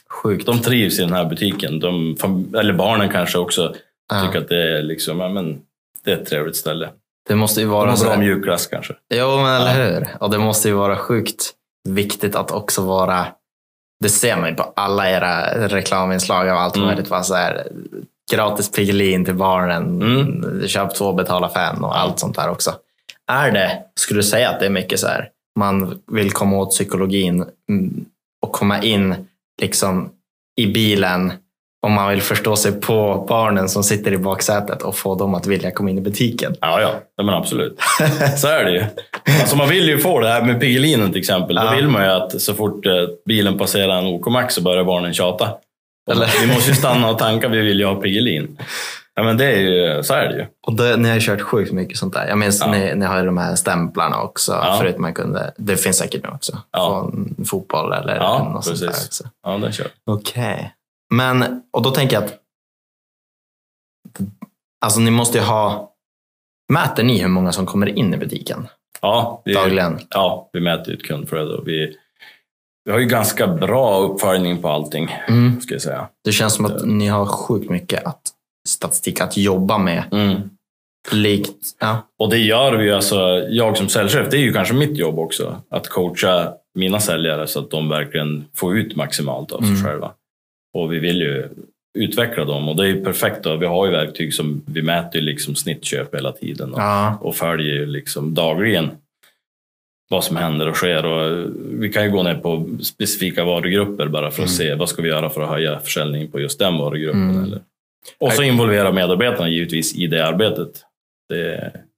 [SPEAKER 1] Sjukt.
[SPEAKER 2] De trivs i den här butiken. De, fam- eller barnen kanske också
[SPEAKER 1] Ja.
[SPEAKER 2] tycker att det är, liksom, ja, men, det är ett trevligt ställe.
[SPEAKER 1] Det måste ju
[SPEAKER 2] De
[SPEAKER 1] vara
[SPEAKER 2] har
[SPEAKER 1] så.
[SPEAKER 2] bra mjukglass kanske.
[SPEAKER 1] Jo, men eller hur? Och det måste ju vara sjukt viktigt att också vara Det ser man ju på alla era reklaminslag av allt
[SPEAKER 2] Mm.
[SPEAKER 1] möjligt. Bara så här, gratis Piggelin till barnen, köp två, betala fem och allt sånt där också. Är det, skulle du säga att det är mycket så här, man vill komma åt psykologin mm, och komma in liksom i bilen om man vill förstå sig på barnen som sitter i baksätet och få dem att vilja komma in i butiken.
[SPEAKER 2] Ja, ja. ja men absolut. Så är det ju. Alltså man vill ju få det här med Piggelinen till exempel.
[SPEAKER 1] Ja.
[SPEAKER 2] Då vill man ju att så fort eh, bilen passerar en OK Max så börjar barnen tjata. Och
[SPEAKER 1] Eller?
[SPEAKER 2] Vi måste ju stanna och tanka, vi vill ju ha Piggelin. Ja, men det är ju, så är det ju.
[SPEAKER 1] Och det, ni har ju kört sjukt mycket sånt där. Jag minns
[SPEAKER 2] Ja.
[SPEAKER 1] ni, ni har ju de här stämplarna också.
[SPEAKER 2] Ja.
[SPEAKER 1] Förut man kunde, det finns säkert nu också.
[SPEAKER 2] Ja.
[SPEAKER 1] Från fotboll eller
[SPEAKER 2] Ja,
[SPEAKER 1] något sånt där
[SPEAKER 2] precis.
[SPEAKER 1] också.
[SPEAKER 2] Ja, den kör.
[SPEAKER 1] Okej. Men, och då tänker jag att alltså ni måste ju ha, mäter ni hur många som kommer in i butiken
[SPEAKER 2] Ja, vi,
[SPEAKER 1] dagligen?
[SPEAKER 2] ja, vi mäter ju ett kundflöde och vi, vi har ju ganska bra uppföljning på allting,
[SPEAKER 1] Mm.
[SPEAKER 2] ska jag säga.
[SPEAKER 1] Det känns som att ni har sjukt mycket att, statistik att jobba med.
[SPEAKER 2] Mm.
[SPEAKER 1] Likt, ja.
[SPEAKER 2] Och det gör vi ju, alltså, jag som säljchef, det är ju kanske mitt jobb också. Att coacha mina säljare så att de verkligen får ut maximalt av sig
[SPEAKER 1] Mm.
[SPEAKER 2] själva. Och vi vill ju utveckla dem och det är ju perfekt. Då. Vi har ju verktyg som vi mäter ju liksom snittköp hela tiden och,
[SPEAKER 1] ja.
[SPEAKER 2] och följer ju liksom dagligen vad som händer och sker. Och vi kan ju gå ner på specifika varugrupper bara för att
[SPEAKER 1] Mm.
[SPEAKER 2] se vad ska vi göra för att höja försäljningen på just den varugruppen.
[SPEAKER 1] Mm.
[SPEAKER 2] Eller? Och så involvera medarbetarna givetvis i det arbetet. Det,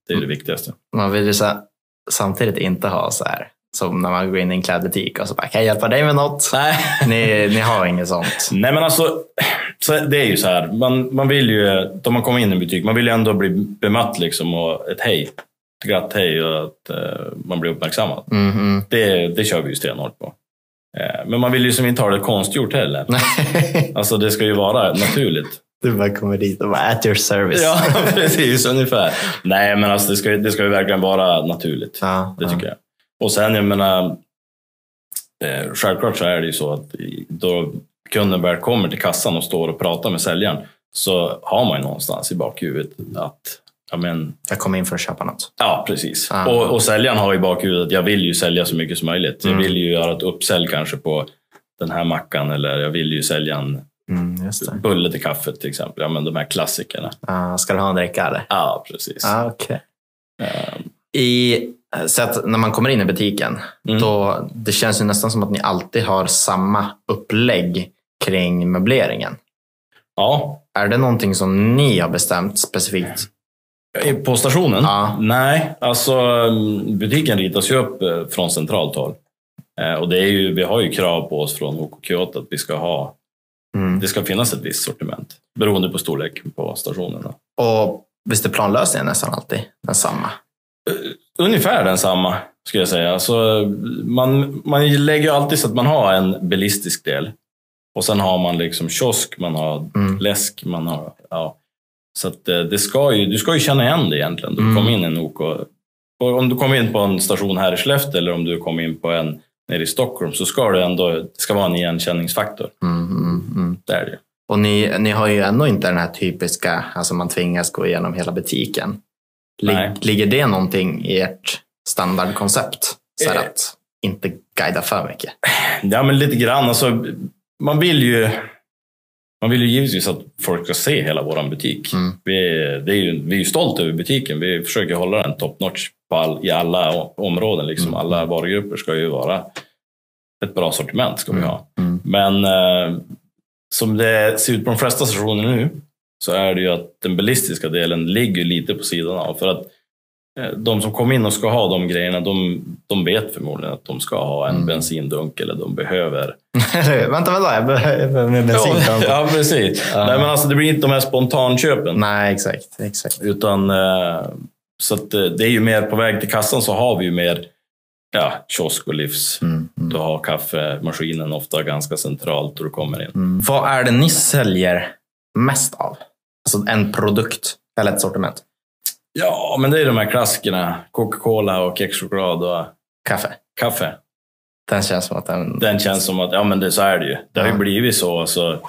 [SPEAKER 2] det
[SPEAKER 1] Mm.
[SPEAKER 2] är det viktigaste.
[SPEAKER 1] Man vill ju så här, samtidigt inte ha så här som när man går in i en klädbutik och så bara, kan jag hjälpa dig med något?
[SPEAKER 2] Nej.
[SPEAKER 1] Ni, ni har inget sånt.
[SPEAKER 2] Nej, men alltså, så det är ju så här. Man, man vill ju, då man kommer in i en butik, man vill ju ändå bli bemött liksom och ett hej. Ett glatt hej och att eh, man blir uppmärksammad.
[SPEAKER 1] Mm, mm.
[SPEAKER 2] Det, det kör vi ju stenhårt på. Eh, men man vill ju som inte ha det konstgjort heller.
[SPEAKER 1] Nej,
[SPEAKER 2] Alltså det ska ju vara naturligt.
[SPEAKER 1] du bara kommer dit och bara, at your service.
[SPEAKER 2] ja, precis. Ungefär. Nej, men alltså det ska, ju- det ska ju verkligen vara naturligt.
[SPEAKER 1] Ja,
[SPEAKER 2] Det tycker jag. Och sen, jag menar, eh, självklart så är det ju så att i- då kunden väl kommer till kassan och står och pratar med säljaren så har man ju någonstans i bakhuvudet att ja, men,
[SPEAKER 1] jag kom in för att köpa något.
[SPEAKER 2] ja precis.
[SPEAKER 1] Ah.
[SPEAKER 2] Och, och säljaren har i bakhuvudet att jag vill ju sälja så mycket som möjligt. Jag
[SPEAKER 1] Mm.
[SPEAKER 2] vill ju göra ett uppsälj kanske på den här mackan eller jag vill ju sälja en
[SPEAKER 1] Mm, just det.
[SPEAKER 2] bulle till kaffet till exempel. Ja, men de här klassikerna.
[SPEAKER 1] Ja, ska du ha en dricka eller?
[SPEAKER 2] Ja, precis.
[SPEAKER 1] Ja, Ah, okej.
[SPEAKER 2] Eh,
[SPEAKER 1] I, så att när man kommer in i butiken,
[SPEAKER 2] Mm.
[SPEAKER 1] då, det känns ju nästan som att ni alltid har samma upplägg kring möbleringen.
[SPEAKER 2] ja,
[SPEAKER 1] Är det någonting som ni har bestämt specifikt?
[SPEAKER 2] På stationen?
[SPEAKER 1] Ja.
[SPEAKER 2] Nej, alltså mm, butiken ritas ju upp eh, från centralt håll. Eh, Och det är ju, vi har ju krav på oss från HKQ8 att vi ska ha,
[SPEAKER 1] Mm.
[SPEAKER 2] det ska finnas ett visst sortiment beroende på storleken på stationerna.
[SPEAKER 1] Och visst är planlösningen nästan alltid densamma?
[SPEAKER 2] Ungefär densamma skulle jag säga. Alltså, eh, man, man lägger ju alltid så att man har en bilistisk del och sen har man liksom kiosk, man har
[SPEAKER 1] Mm.
[SPEAKER 2] läsk, man har... Ja. Så att eh, det ska ju, du ska ju känna igen det egentligen. Du
[SPEAKER 1] Mm.
[SPEAKER 2] kommer in i en OK. Och om du kommer in på en station här i Skellefteå eller om du kommer in på en nere i Stockholm så ska det ändå det ska vara en igenkänningsfaktor.
[SPEAKER 1] Mm, mm, mm.
[SPEAKER 2] Det är det ju.
[SPEAKER 1] Och ni, ni har ju ändå inte den här typiska, alltså man tvingas gå igenom hela butiken.
[SPEAKER 2] Nej.
[SPEAKER 1] Lig, ligger det någonting i ert standardkoncept? Så här
[SPEAKER 2] Eh.
[SPEAKER 1] att inte guida för mycket.
[SPEAKER 2] Ja, men lite grann. Alltså, man vill ju man vill ju givetvis att folk ska se hela vår butik.
[SPEAKER 1] Mm.
[SPEAKER 2] Vi, är, det är ju, vi är ju stolta över butiken. Vi försöker hålla den top notch på all, i alla o- områden. Liksom.
[SPEAKER 1] Mm.
[SPEAKER 2] Alla varugrupper ska ju vara ett bra sortiment. ska vi ha.
[SPEAKER 1] Mm.
[SPEAKER 2] Men eh, som det ser ut på de flesta stationer nu så är det ju att den ballistiska delen ligger lite på sidan av. För att eh, de som kommer in och ska ha de grejerna, de, de vet förmodligen att de ska ha en
[SPEAKER 1] Mm.
[SPEAKER 2] bensindunk eller de behöver
[SPEAKER 1] vänta, vänta, jag behöver jag behöver mer bensin.
[SPEAKER 2] Ja, ja, precis.
[SPEAKER 1] Ja.
[SPEAKER 2] Nej, men alltså, det blir inte de här spontanköpen.
[SPEAKER 1] Nej, exakt. exakt.
[SPEAKER 2] Utan, eh, så att, eh, det är ju mer på väg till kassan så har vi ju mer ja, kiosk och livs.
[SPEAKER 1] Mm. Mm.
[SPEAKER 2] Du har kaffemaskinen ofta ganska centralt då du kommer in.
[SPEAKER 1] Mm. Vad är det ni säljer mest av? Alltså en produkt eller ett sortiment?
[SPEAKER 2] Ja, men det är de här klassikerna. Coca-Cola och kexchoklad och
[SPEAKER 1] Kaffe.
[SPEAKER 2] kaffe.
[SPEAKER 1] Den känns som att den...
[SPEAKER 2] Den känns som att, ja men det, så är det ju. Det har ju
[SPEAKER 1] Ja.
[SPEAKER 2] blivit så. Alltså,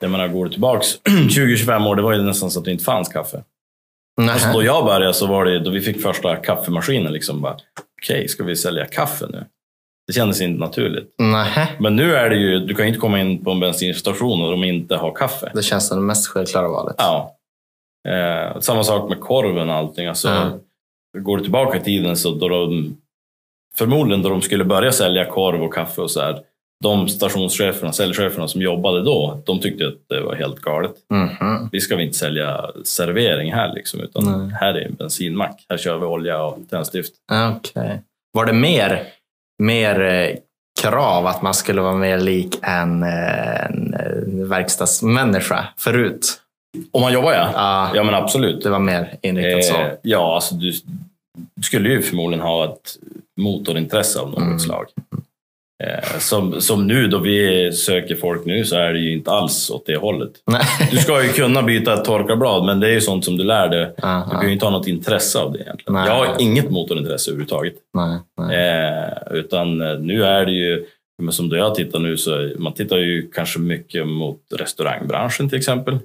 [SPEAKER 2] jag menar, går du tillbaks 20-25 år, det var ju nästan så att det inte fanns kaffe.
[SPEAKER 1] Nej.
[SPEAKER 2] Alltså då jag började så var det då vi fick första kaffemaskinen liksom bara, okej, ska vi sälja kaffe nu? Det kändes inte naturligt.
[SPEAKER 1] Nähä.
[SPEAKER 2] Men nu är det ju, du kan ju inte komma in på en bensinstation och de inte har kaffe.
[SPEAKER 1] Det känns som det mest självklara valet.
[SPEAKER 2] Ja. Eh, samma sak med korven och allting. Alltså,
[SPEAKER 1] Ja.
[SPEAKER 2] Går du tillbaka i tiden så då de, förmodligen då de skulle börja sälja korv och kaffe och så här. De stationscheferna, säljcheferna som jobbade då, de tyckte att det var helt galet.
[SPEAKER 1] Mhm.
[SPEAKER 2] Vi ska väl inte sälja servering här liksom, utan
[SPEAKER 1] Nej.
[SPEAKER 2] här är en bensinmack. Här kör vi olja och tändstift.
[SPEAKER 1] Okej. Var det mer, mer eh, krav att man skulle vara mer lik en, eh, en eh, verkstadsmänniska förut?
[SPEAKER 2] Om man jobbar ja.
[SPEAKER 1] Ja,
[SPEAKER 2] Ja men absolut.
[SPEAKER 1] Det var mer inriktat så.
[SPEAKER 2] Eh, ja, alltså du du skulle ju förmodligen ha ett motorintresse av något
[SPEAKER 1] Mm.
[SPEAKER 2] slag. Eh, som, som nu då vi söker folk nu så är det ju inte alls åt det hållet.
[SPEAKER 1] Nej.
[SPEAKER 2] Du ska ju kunna byta ett torkarblad, men det är ju sånt som du lär dig. Du
[SPEAKER 1] Aha.
[SPEAKER 2] kan ju inte ha något intresse av det egentligen.
[SPEAKER 1] Nej.
[SPEAKER 2] Jag har inget motorintresse överhuvudtaget.
[SPEAKER 1] Nej, nej.
[SPEAKER 2] Eh, utan eh, nu är det ju, men som då jag tittar nu, så man tittar ju kanske mycket mot restaurangbranschen till exempel.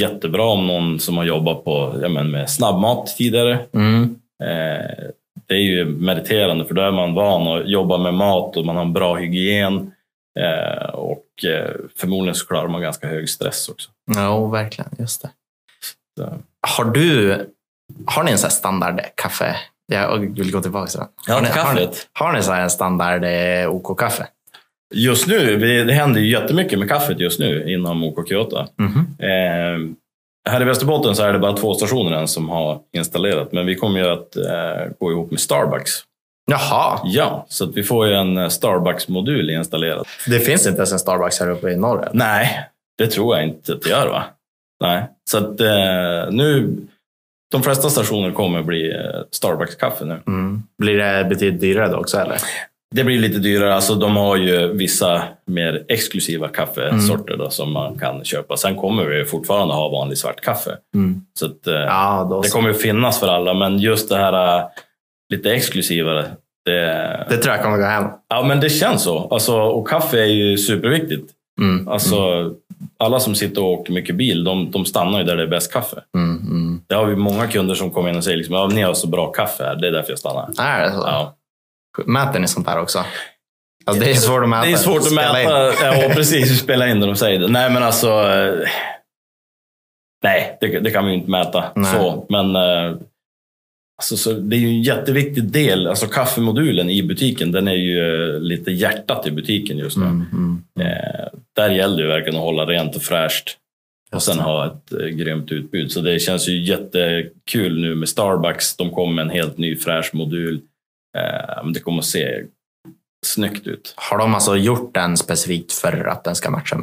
[SPEAKER 2] Jättebra om någon som har jobbat på, ja, men med snabbmat tidigare.
[SPEAKER 1] Mm.
[SPEAKER 2] Eh, det är ju meriterande för då är man van att jobba med mat och man har en bra hygien. Eh, och eh, förmodligen så klarar man ganska hög stress också.
[SPEAKER 1] Jo, verkligen. Just det.
[SPEAKER 2] Så.
[SPEAKER 1] Har du har ni en sån här standard kaffe? Jag vill gå tillbaka till den.
[SPEAKER 2] Ja,
[SPEAKER 1] har, ni, har, ni,
[SPEAKER 2] kaffet.
[SPEAKER 1] har ni så här en standard eh, OK-kaffe?
[SPEAKER 2] Just nu, vi- det händer ju jättemycket med kaffet just nu inom OK Kyoto.
[SPEAKER 1] Mhm.
[SPEAKER 2] Eh, här i Västerbotten så är det bara två stationer än som har installerat, men vi kommer ju att eh, gå ihop med Starbucks.
[SPEAKER 1] Jaha,
[SPEAKER 2] Ja, så att vi får ju en eh, Starbucks-modul installerad.
[SPEAKER 1] det finns inte ens en Starbucks här uppe i norr? än.
[SPEAKER 2] Nej, det tror jag inte att det gör va? Nej, så att eh, nu, de flesta stationer kommer bli eh, Starbucks-kaffe nu.
[SPEAKER 1] Mm. Blir det betydligt dyrare då också? Eller?
[SPEAKER 2] Det blir lite dyrare, alltså de har ju vissa mer exklusiva kaffesorter då, som man kan köpa. Sen kommer vi fortfarande ha vanlig svart kaffe. Så att, eh,
[SPEAKER 1] Ja, då
[SPEAKER 2] Det
[SPEAKER 1] så.
[SPEAKER 2] kommer att finnas för alla, men just det här äh, lite exklusivare. Det,
[SPEAKER 1] det tror jag kommer gå hem.
[SPEAKER 2] ja, men det känns så. Alltså, och kaffe är ju superviktigt.
[SPEAKER 1] Mm.
[SPEAKER 2] Alltså, Alla som sitter och åker mycket bil, de, de stannar ju där det är bäst kaffe.
[SPEAKER 1] Mm. Mm.
[SPEAKER 2] Det har vi många kunder som kommer in och säger liksom, ja, ni har så bra kaffe här, det är därför jag stannar.
[SPEAKER 1] Är det så?
[SPEAKER 2] Ja.
[SPEAKER 1] Mäter ni sånt här också? Alltså, det är svårt att mäta.
[SPEAKER 2] Det är svårt att
[SPEAKER 1] Spela in.
[SPEAKER 2] mäta. Ja, precis. Spela in det de säger. Det. Nej, men alltså. eh, Nej, det, det kan vi ju inte mäta.
[SPEAKER 1] Nej.
[SPEAKER 2] Så, men eh, alltså, så, det är ju en jätteviktig del. Alltså kaffemodulen i butiken, den är ju eh, lite hjärtat i butiken just nu.
[SPEAKER 1] Mm. Mm.
[SPEAKER 2] Eh, Där gäller det ju verkligen att hålla rent och fräscht och sen ha ett eh, grymt utbud. Så det känns ju jättekul nu med Starbucks. De kom med en helt ny fräsch modul. Eh, men Det kommer att se snyggt ut.
[SPEAKER 1] Har de alltså gjort den specifikt för att den ska matcha?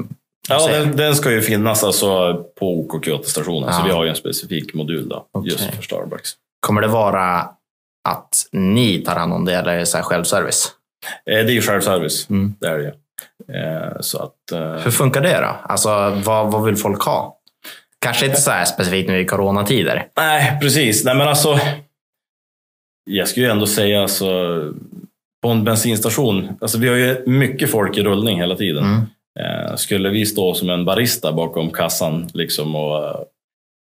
[SPEAKER 2] Ja,
[SPEAKER 1] säger
[SPEAKER 2] den, den ska ju finnas alltså på OK Kyoto-stationen. Så
[SPEAKER 1] Ja.
[SPEAKER 2] vi har ju en specifik modul då,
[SPEAKER 1] Okej.
[SPEAKER 2] just för Starbucks.
[SPEAKER 1] Kommer det vara att ni tar hand om det eller är det så här självservice?
[SPEAKER 2] Eh, det är ju självservice,
[SPEAKER 1] Mm.
[SPEAKER 2] det är det ju. Eh, så att, eh,
[SPEAKER 1] Hur funkar det då? Alltså, vad, vad vill folk ha? Kanske inte så här specifikt nu i coronatider.
[SPEAKER 2] nej, precis. Nej, men alltså, jag skulle ju ändå säga alltså, på en bensinstation, alltså, vi har ju mycket folk i rullning hela tiden.
[SPEAKER 1] Mm.
[SPEAKER 2] Eh, skulle vi stå som en barista bakom kassan liksom, och, eh,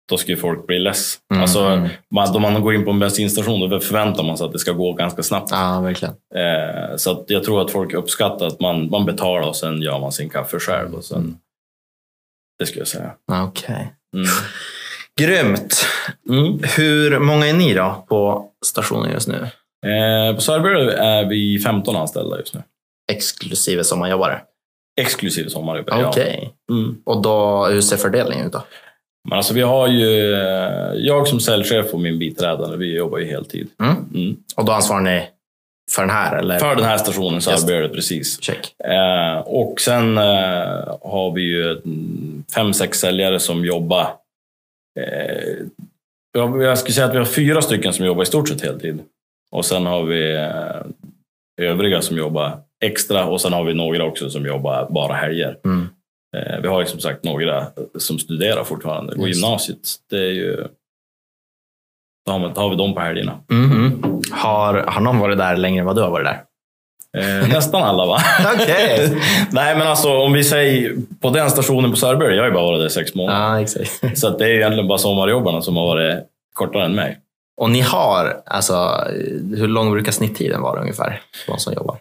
[SPEAKER 2] då skulle folk bli less.
[SPEAKER 1] Mm,
[SPEAKER 2] Alltså,
[SPEAKER 1] mm.
[SPEAKER 2] man, om man går in på en bensinstation då förväntar man sig att det ska gå ganska snabbt.
[SPEAKER 1] Ja, verkligen.
[SPEAKER 2] Eh, så att jag tror att folk uppskattar att man, man betalar och sen gör man sin kaffe själv. Och sen, det skulle jag säga.
[SPEAKER 1] Okej.
[SPEAKER 2] Mm.
[SPEAKER 1] Grymt. Hur många är ni då på stationen just nu?
[SPEAKER 2] Eh, på Söderberg är vi 15 anställda just nu.
[SPEAKER 1] Exklusive sommarjobbare.
[SPEAKER 2] Exklusive sommarjobbare.
[SPEAKER 1] Okej.
[SPEAKER 2] ja. Mm.
[SPEAKER 1] Och då, hur ser fördelningen ut då?
[SPEAKER 2] Men alltså vi har ju, eh, jag som säljchef och min biträdande, vi jobbar ju heltid.
[SPEAKER 1] Mm.
[SPEAKER 2] Mm.
[SPEAKER 1] Och då ansvarar ni för den här? Eller?
[SPEAKER 2] För den här stationen
[SPEAKER 1] Just det.
[SPEAKER 2] Söderberg, precis.
[SPEAKER 1] Check.
[SPEAKER 2] Eh, och sen eh, har vi ju mm, fem, sex säljare som jobbar. Eh, jag, jag skulle säga att vi har fyra stycken som jobbar i stort sett heltid. Och sen har vi eh, övriga som jobbar extra och sen har vi några också som jobbar bara helger.
[SPEAKER 1] Mm.
[SPEAKER 2] Eh, vi har ju som sagt några som studerar fortfarande, går
[SPEAKER 1] Just.
[SPEAKER 2] gymnasiet. Det är ju, då, har man, då har vi dem på helgerna.
[SPEAKER 1] Mhm. Har, har någon varit där längre än vad du har varit där?
[SPEAKER 2] Eh, nästan alla va?
[SPEAKER 1] Okej.
[SPEAKER 2] Nej men alltså om vi säger på den stationen på Sörberg, jag har ju bara varit där i sex månader.
[SPEAKER 1] Ja, exakt.
[SPEAKER 2] Så att det är ju egentligen bara sommarjobbarna som har varit kortare än mig.
[SPEAKER 1] Och ni har, alltså, hur lång brukar snitttiden vara ungefär? för De som jobbar.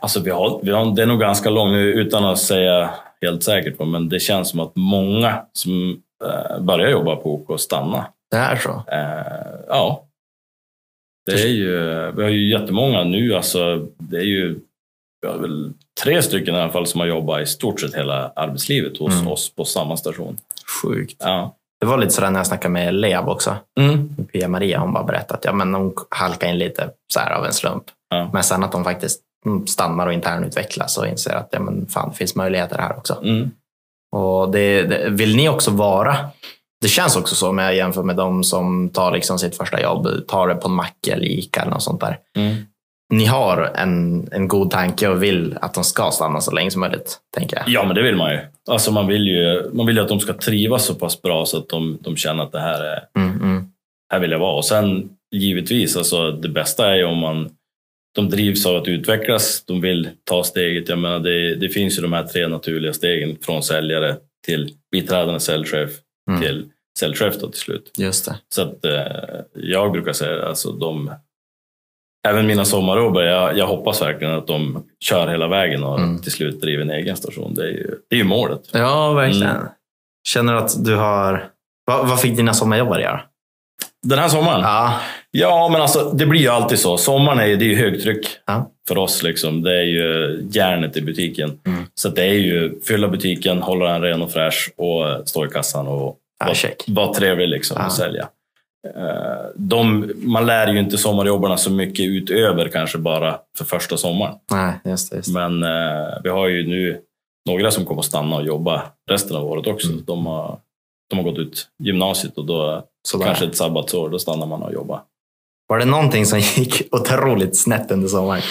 [SPEAKER 2] Alltså vi har, vi har, det är nog ganska långt nu, utan att säga helt säkert, men det känns som att många som eh, börjar jobba på OK stannar.
[SPEAKER 1] Det är så?
[SPEAKER 2] Eh, ja. Det är ju, vi har ju jättemånga nu, alltså, det är ju vi har väl tre stycken i alla fall som har jobbat i stort sett hela arbetslivet hos
[SPEAKER 1] Mm.
[SPEAKER 2] oss på samma station.
[SPEAKER 1] Sjukt.
[SPEAKER 2] Ja.
[SPEAKER 1] Det var lite sådär när jag snackade med Leab också.
[SPEAKER 2] Mm.
[SPEAKER 1] Pia Maria hon bara berättade att ja, men hon halkade in lite så här av en slump.
[SPEAKER 2] Ja.
[SPEAKER 1] Men sen att de faktiskt mm, stannar och internutvecklas och inser att ja, men fan, det finns möjligheter här också.
[SPEAKER 2] Mm.
[SPEAKER 1] Och det, det, vill ni också vara? Det känns också så om jag jämför med de som tar liksom sitt första jobb, tar det på en mack eller Ica eller något sånt där.
[SPEAKER 2] Mm.
[SPEAKER 1] Ni har en, en god tanke och vill att de ska stanna så länge som möjligt, tänker jag.
[SPEAKER 2] Ja, men det vill man ju. Alltså man vill ju, man vill ju att de ska trivas så pass bra så att de, de känner att det här, är,
[SPEAKER 1] Mm, mm,
[SPEAKER 2] här vill jag vara. Och sen givetvis, alltså, det bästa är ju om man, de drivs av att utvecklas, de vill ta steget. Jag menar, det, det finns ju de här tre naturliga stegen från säljare till biträdande säljchef
[SPEAKER 1] mm.
[SPEAKER 2] till säljchef då till slut.
[SPEAKER 1] Just det.
[SPEAKER 2] Så att eh, jag brukar säga alltså de, även mina sommarjobbare, jag, jag hoppas verkligen att de kör hela vägen och
[SPEAKER 1] Mm.
[SPEAKER 2] till slut driver en egen station. Det är ju, det är ju målet.
[SPEAKER 1] Ja, verkligen.
[SPEAKER 2] Mm.
[SPEAKER 1] Känner du att du har... Vad, vad fick dina sommarjobbare göra?
[SPEAKER 2] Den här sommaren? Ja,
[SPEAKER 1] Ja.
[SPEAKER 2] men alltså det blir ju alltid så. Sommaren är ju, det är ju högtryck
[SPEAKER 1] Ja.
[SPEAKER 2] för oss. Liksom. Det är ju järnet i butiken.
[SPEAKER 1] Mm.
[SPEAKER 2] Så att det är ju fylla butiken, hålla den ren och fräsch och eh, stå i kassan och
[SPEAKER 1] ja,
[SPEAKER 2] Vad-
[SPEAKER 1] check.
[SPEAKER 2] vara trevlig liksom
[SPEAKER 1] Ja.
[SPEAKER 2] och sälja. Eh, De, man lär ju inte sommarjobbarna så mycket utöver kanske bara för första sommaren.
[SPEAKER 1] Nej, just det. Just det.
[SPEAKER 2] Men eh, vi har ju nu några som kommer att stanna och jobba resten av året också.
[SPEAKER 1] Mm.
[SPEAKER 2] De, har, de har gått ut gymnasiet och då
[SPEAKER 1] Sådär.
[SPEAKER 2] kanske ett sabbatsår, då stannar man och jobbar.
[SPEAKER 1] Var det någonting som gick otroligt snett under sommaren?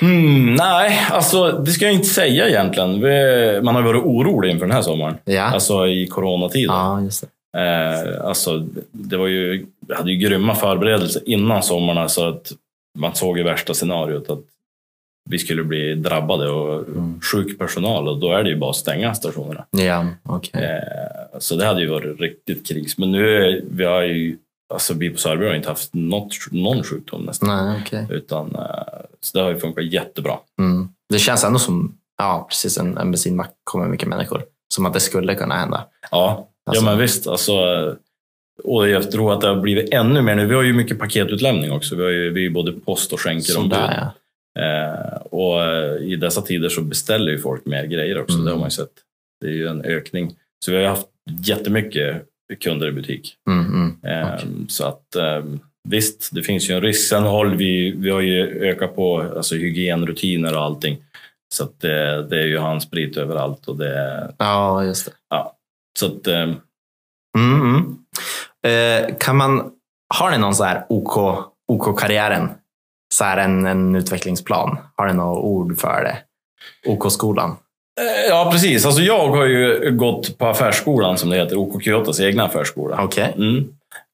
[SPEAKER 2] Hmm, nej, alltså det ska jag inte säga egentligen. Vi, man har varit orolig inför den här sommaren.
[SPEAKER 1] Ja,
[SPEAKER 2] Alltså i coronatiden.
[SPEAKER 1] ja just det.
[SPEAKER 2] Eh, alltså, det var ju, vi hade ju grymma förberedelser innan sommaren så att man såg i värsta scenariot att vi skulle bli drabbade och
[SPEAKER 1] Mm.
[SPEAKER 2] sjuk personal och då är det ju bara att stänga stationerna.
[SPEAKER 1] Ja, okej.
[SPEAKER 2] Eh, så det hade ju varit riktigt kris. Men nu är, vi har ju, alltså vi på Sörby har inte haft något, någon sjukdom nästan.
[SPEAKER 1] Nej, okej.
[SPEAKER 2] Utan, eh, så det har ju funkat jättebra.
[SPEAKER 1] Mm. Det känns ändå som, ja precis, en, en bensinmack kommer mycket människor. Som att det skulle kunna hända.
[SPEAKER 2] Ja,
[SPEAKER 1] Alltså.
[SPEAKER 2] ja men visst. Alltså, och jag tror att det har blivit ännu mer nu. Vi har ju mycket paketutlämning också. Vi, har ju, vi är ju både post och skänkerombud.
[SPEAKER 1] Sådär,
[SPEAKER 2] Eh, och eh, i dessa tider så beställer ju folk mer grejer också.
[SPEAKER 1] Mm.
[SPEAKER 2] Det har man ju sett. Det är ju en ökning. Så vi har ju haft jättemycket kunder i butik.
[SPEAKER 1] ja. Mm, mm.
[SPEAKER 2] Eh,
[SPEAKER 1] Okej.
[SPEAKER 2] Så att eh, visst, det finns ju en risk. Sen håller vi, vi har ju ökat på alltså, hygienrutiner och allting. Så att eh, det är ju handsprit överallt. Och det,
[SPEAKER 1] Ja, just det.
[SPEAKER 2] så att, eh,
[SPEAKER 1] Mm, mm. Eh, kan man, har ni någon så här OK, OK-karriären? så här en, en utvecklingsplan? Har ni några ord för det? OK-skolan?
[SPEAKER 2] Eh, Ja, precis. Alltså, jag har ju gått på affärsskolan som det heter, OK Kyotas egna affärsskola.
[SPEAKER 1] Okej.
[SPEAKER 2] Mm.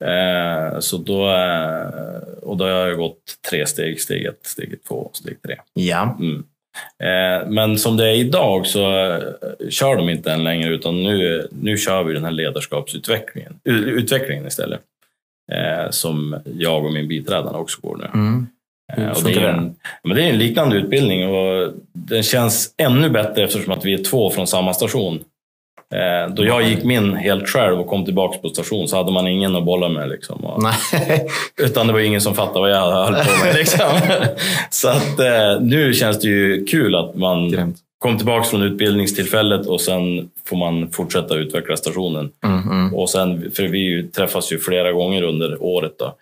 [SPEAKER 2] Eh, så då, eh, och då har jag gått tre steg. Steg ett, steg två och steg tre.
[SPEAKER 1] Ja.
[SPEAKER 2] Mm. Eh, men som det är idag så eh, kör de inte än längre utan nu, nu kör vi den här ledarskapsutvecklingen u- utvecklingen istället. Eh, som jag och min biträdande också går nu.
[SPEAKER 1] Mm. Hur
[SPEAKER 2] Eh, Och det,
[SPEAKER 1] funkar
[SPEAKER 2] är
[SPEAKER 1] den?
[SPEAKER 2] en, men det är en liknande utbildning och den känns ännu bättre eftersom att vi är två från samma station. Eh, Då jag gick min helt själv och kom tillbaka på station så hade man ingen att bolla med. Liksom. Och,
[SPEAKER 1] Nej.
[SPEAKER 2] utan det var ingen som fattade vad jag höll på med. Liksom. så att, eh, nu känns det ju kul att man
[SPEAKER 1] Grymt.
[SPEAKER 2] kom tillbaka från utbildningstillfället och sen får man fortsätta utveckla stationen.
[SPEAKER 1] Mm, mm.
[SPEAKER 2] Och sen, för vi ju träffas ju flera gånger under året då,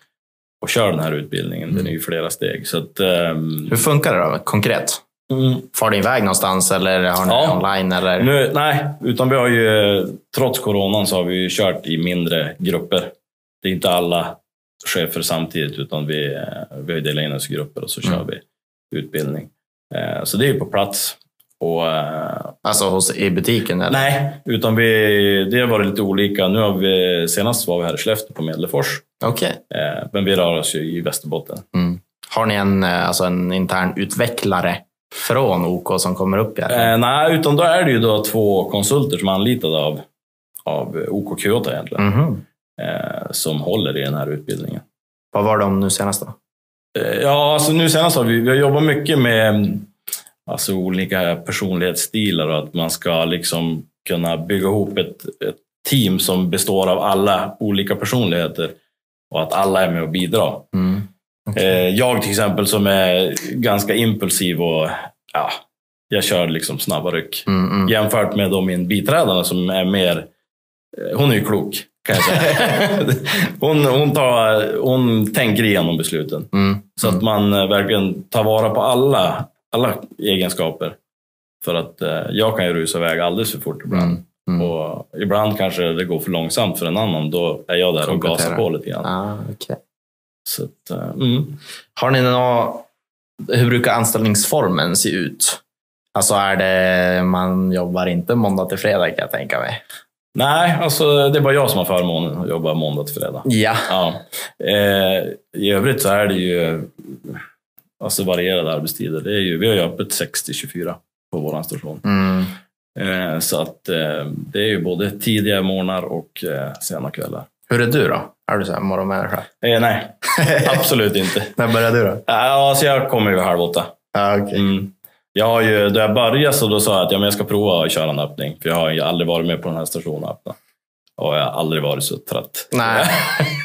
[SPEAKER 2] och kör den här utbildningen. Den är ju flera steg. Så att, ehm,
[SPEAKER 1] Hur funkar det då, konkret? Far du iväg någonstans eller har ni
[SPEAKER 2] Ja.
[SPEAKER 1] det online? Eller?
[SPEAKER 2] Nu, nej, utan vi har ju, trots coronan så har vi ju kört i mindre grupper. Det är inte alla chefer samtidigt, utan vi, eh, vi har ju delat in oss i grupper och så kör
[SPEAKER 1] Mm.
[SPEAKER 2] vi utbildning. Eh, Så det är ju på plats. Och, eh,
[SPEAKER 1] Alltså hos, i butiken? Eller?
[SPEAKER 2] nej, utan vi, det har varit lite olika. Nu har vi, senast var vi här i Skellefteå på Medelfors,
[SPEAKER 1] Okej.
[SPEAKER 2] Eh, men vi rör oss ju i Västerbotten.
[SPEAKER 1] Mm. Har ni en, eh, alltså en intern utvecklare från OK som kommer upp? Här?
[SPEAKER 2] Eh, Nej, utan då är det ju då två konsulter som är anlitade av, av OK Kyoto egentligen,
[SPEAKER 1] Mhm.
[SPEAKER 2] eh, som håller i den här utbildningen.
[SPEAKER 1] Vad var de nu senast då?
[SPEAKER 2] Eh, Ja, alltså nu senast har vi, vi har jobbat mycket med alltså olika personlighetsstilar och att man ska liksom kunna bygga ihop ett, ett team som består av alla olika personligheter och att alla är med och bidrar.
[SPEAKER 1] Mm.
[SPEAKER 2] Eh, Jag till exempel som är ganska impulsiv och ja, jag kör liksom snabba ryck.
[SPEAKER 1] Mm, mm.
[SPEAKER 2] Jämfört med då min biträdande som är mer, eh, hon är ju klok kan jag säga. hon, hon, tar, hon tänker igenom besluten.
[SPEAKER 1] Mm.
[SPEAKER 2] Så att man eh, verkligen tar vara på alla, alla egenskaper. För att eh, jag kan ju rusa iväg alldeles för fort ibland.
[SPEAKER 1] Mm. Mm.
[SPEAKER 2] Och ibland kanske det går för långsamt för en annan. Då är jag där och gasar
[SPEAKER 1] Komplettera.
[SPEAKER 2] på lite grann.
[SPEAKER 1] Ah, okej.
[SPEAKER 2] Så att, eh, mm.
[SPEAKER 1] Har ni någon, hur brukar anställningsformen se ut? Alltså är det, man jobbar inte måndag till fredag kan jag tänka mig.
[SPEAKER 2] Nej, alltså det är bara jag som har förmånen att jobba måndag till fredag.
[SPEAKER 1] Ja.
[SPEAKER 2] Ja. Eh, I övrigt så är det ju alltså varierade arbetstider. Det är ju, vi har ju öppet 6 till 24 på vår station.
[SPEAKER 1] Mm.
[SPEAKER 2] Eh, så att, eh, det är ju både tidiga morgnar och eh, sena kvällar.
[SPEAKER 1] Hur är du då? Är du så här morgonmänniska?
[SPEAKER 2] Eh, nej, absolut inte. Äh,
[SPEAKER 1] När började du då?
[SPEAKER 2] Ja, Alltså, jag kommer ju vid halv åtta.
[SPEAKER 1] Ah, okej.
[SPEAKER 2] Mm. Jag har ju, då jag började så då sa jag att ja, men jag ska prova att köra en öppning. För jag har ju aldrig varit med på den här stationen och öppna. Och jag har aldrig varit så trött.
[SPEAKER 1] Nej.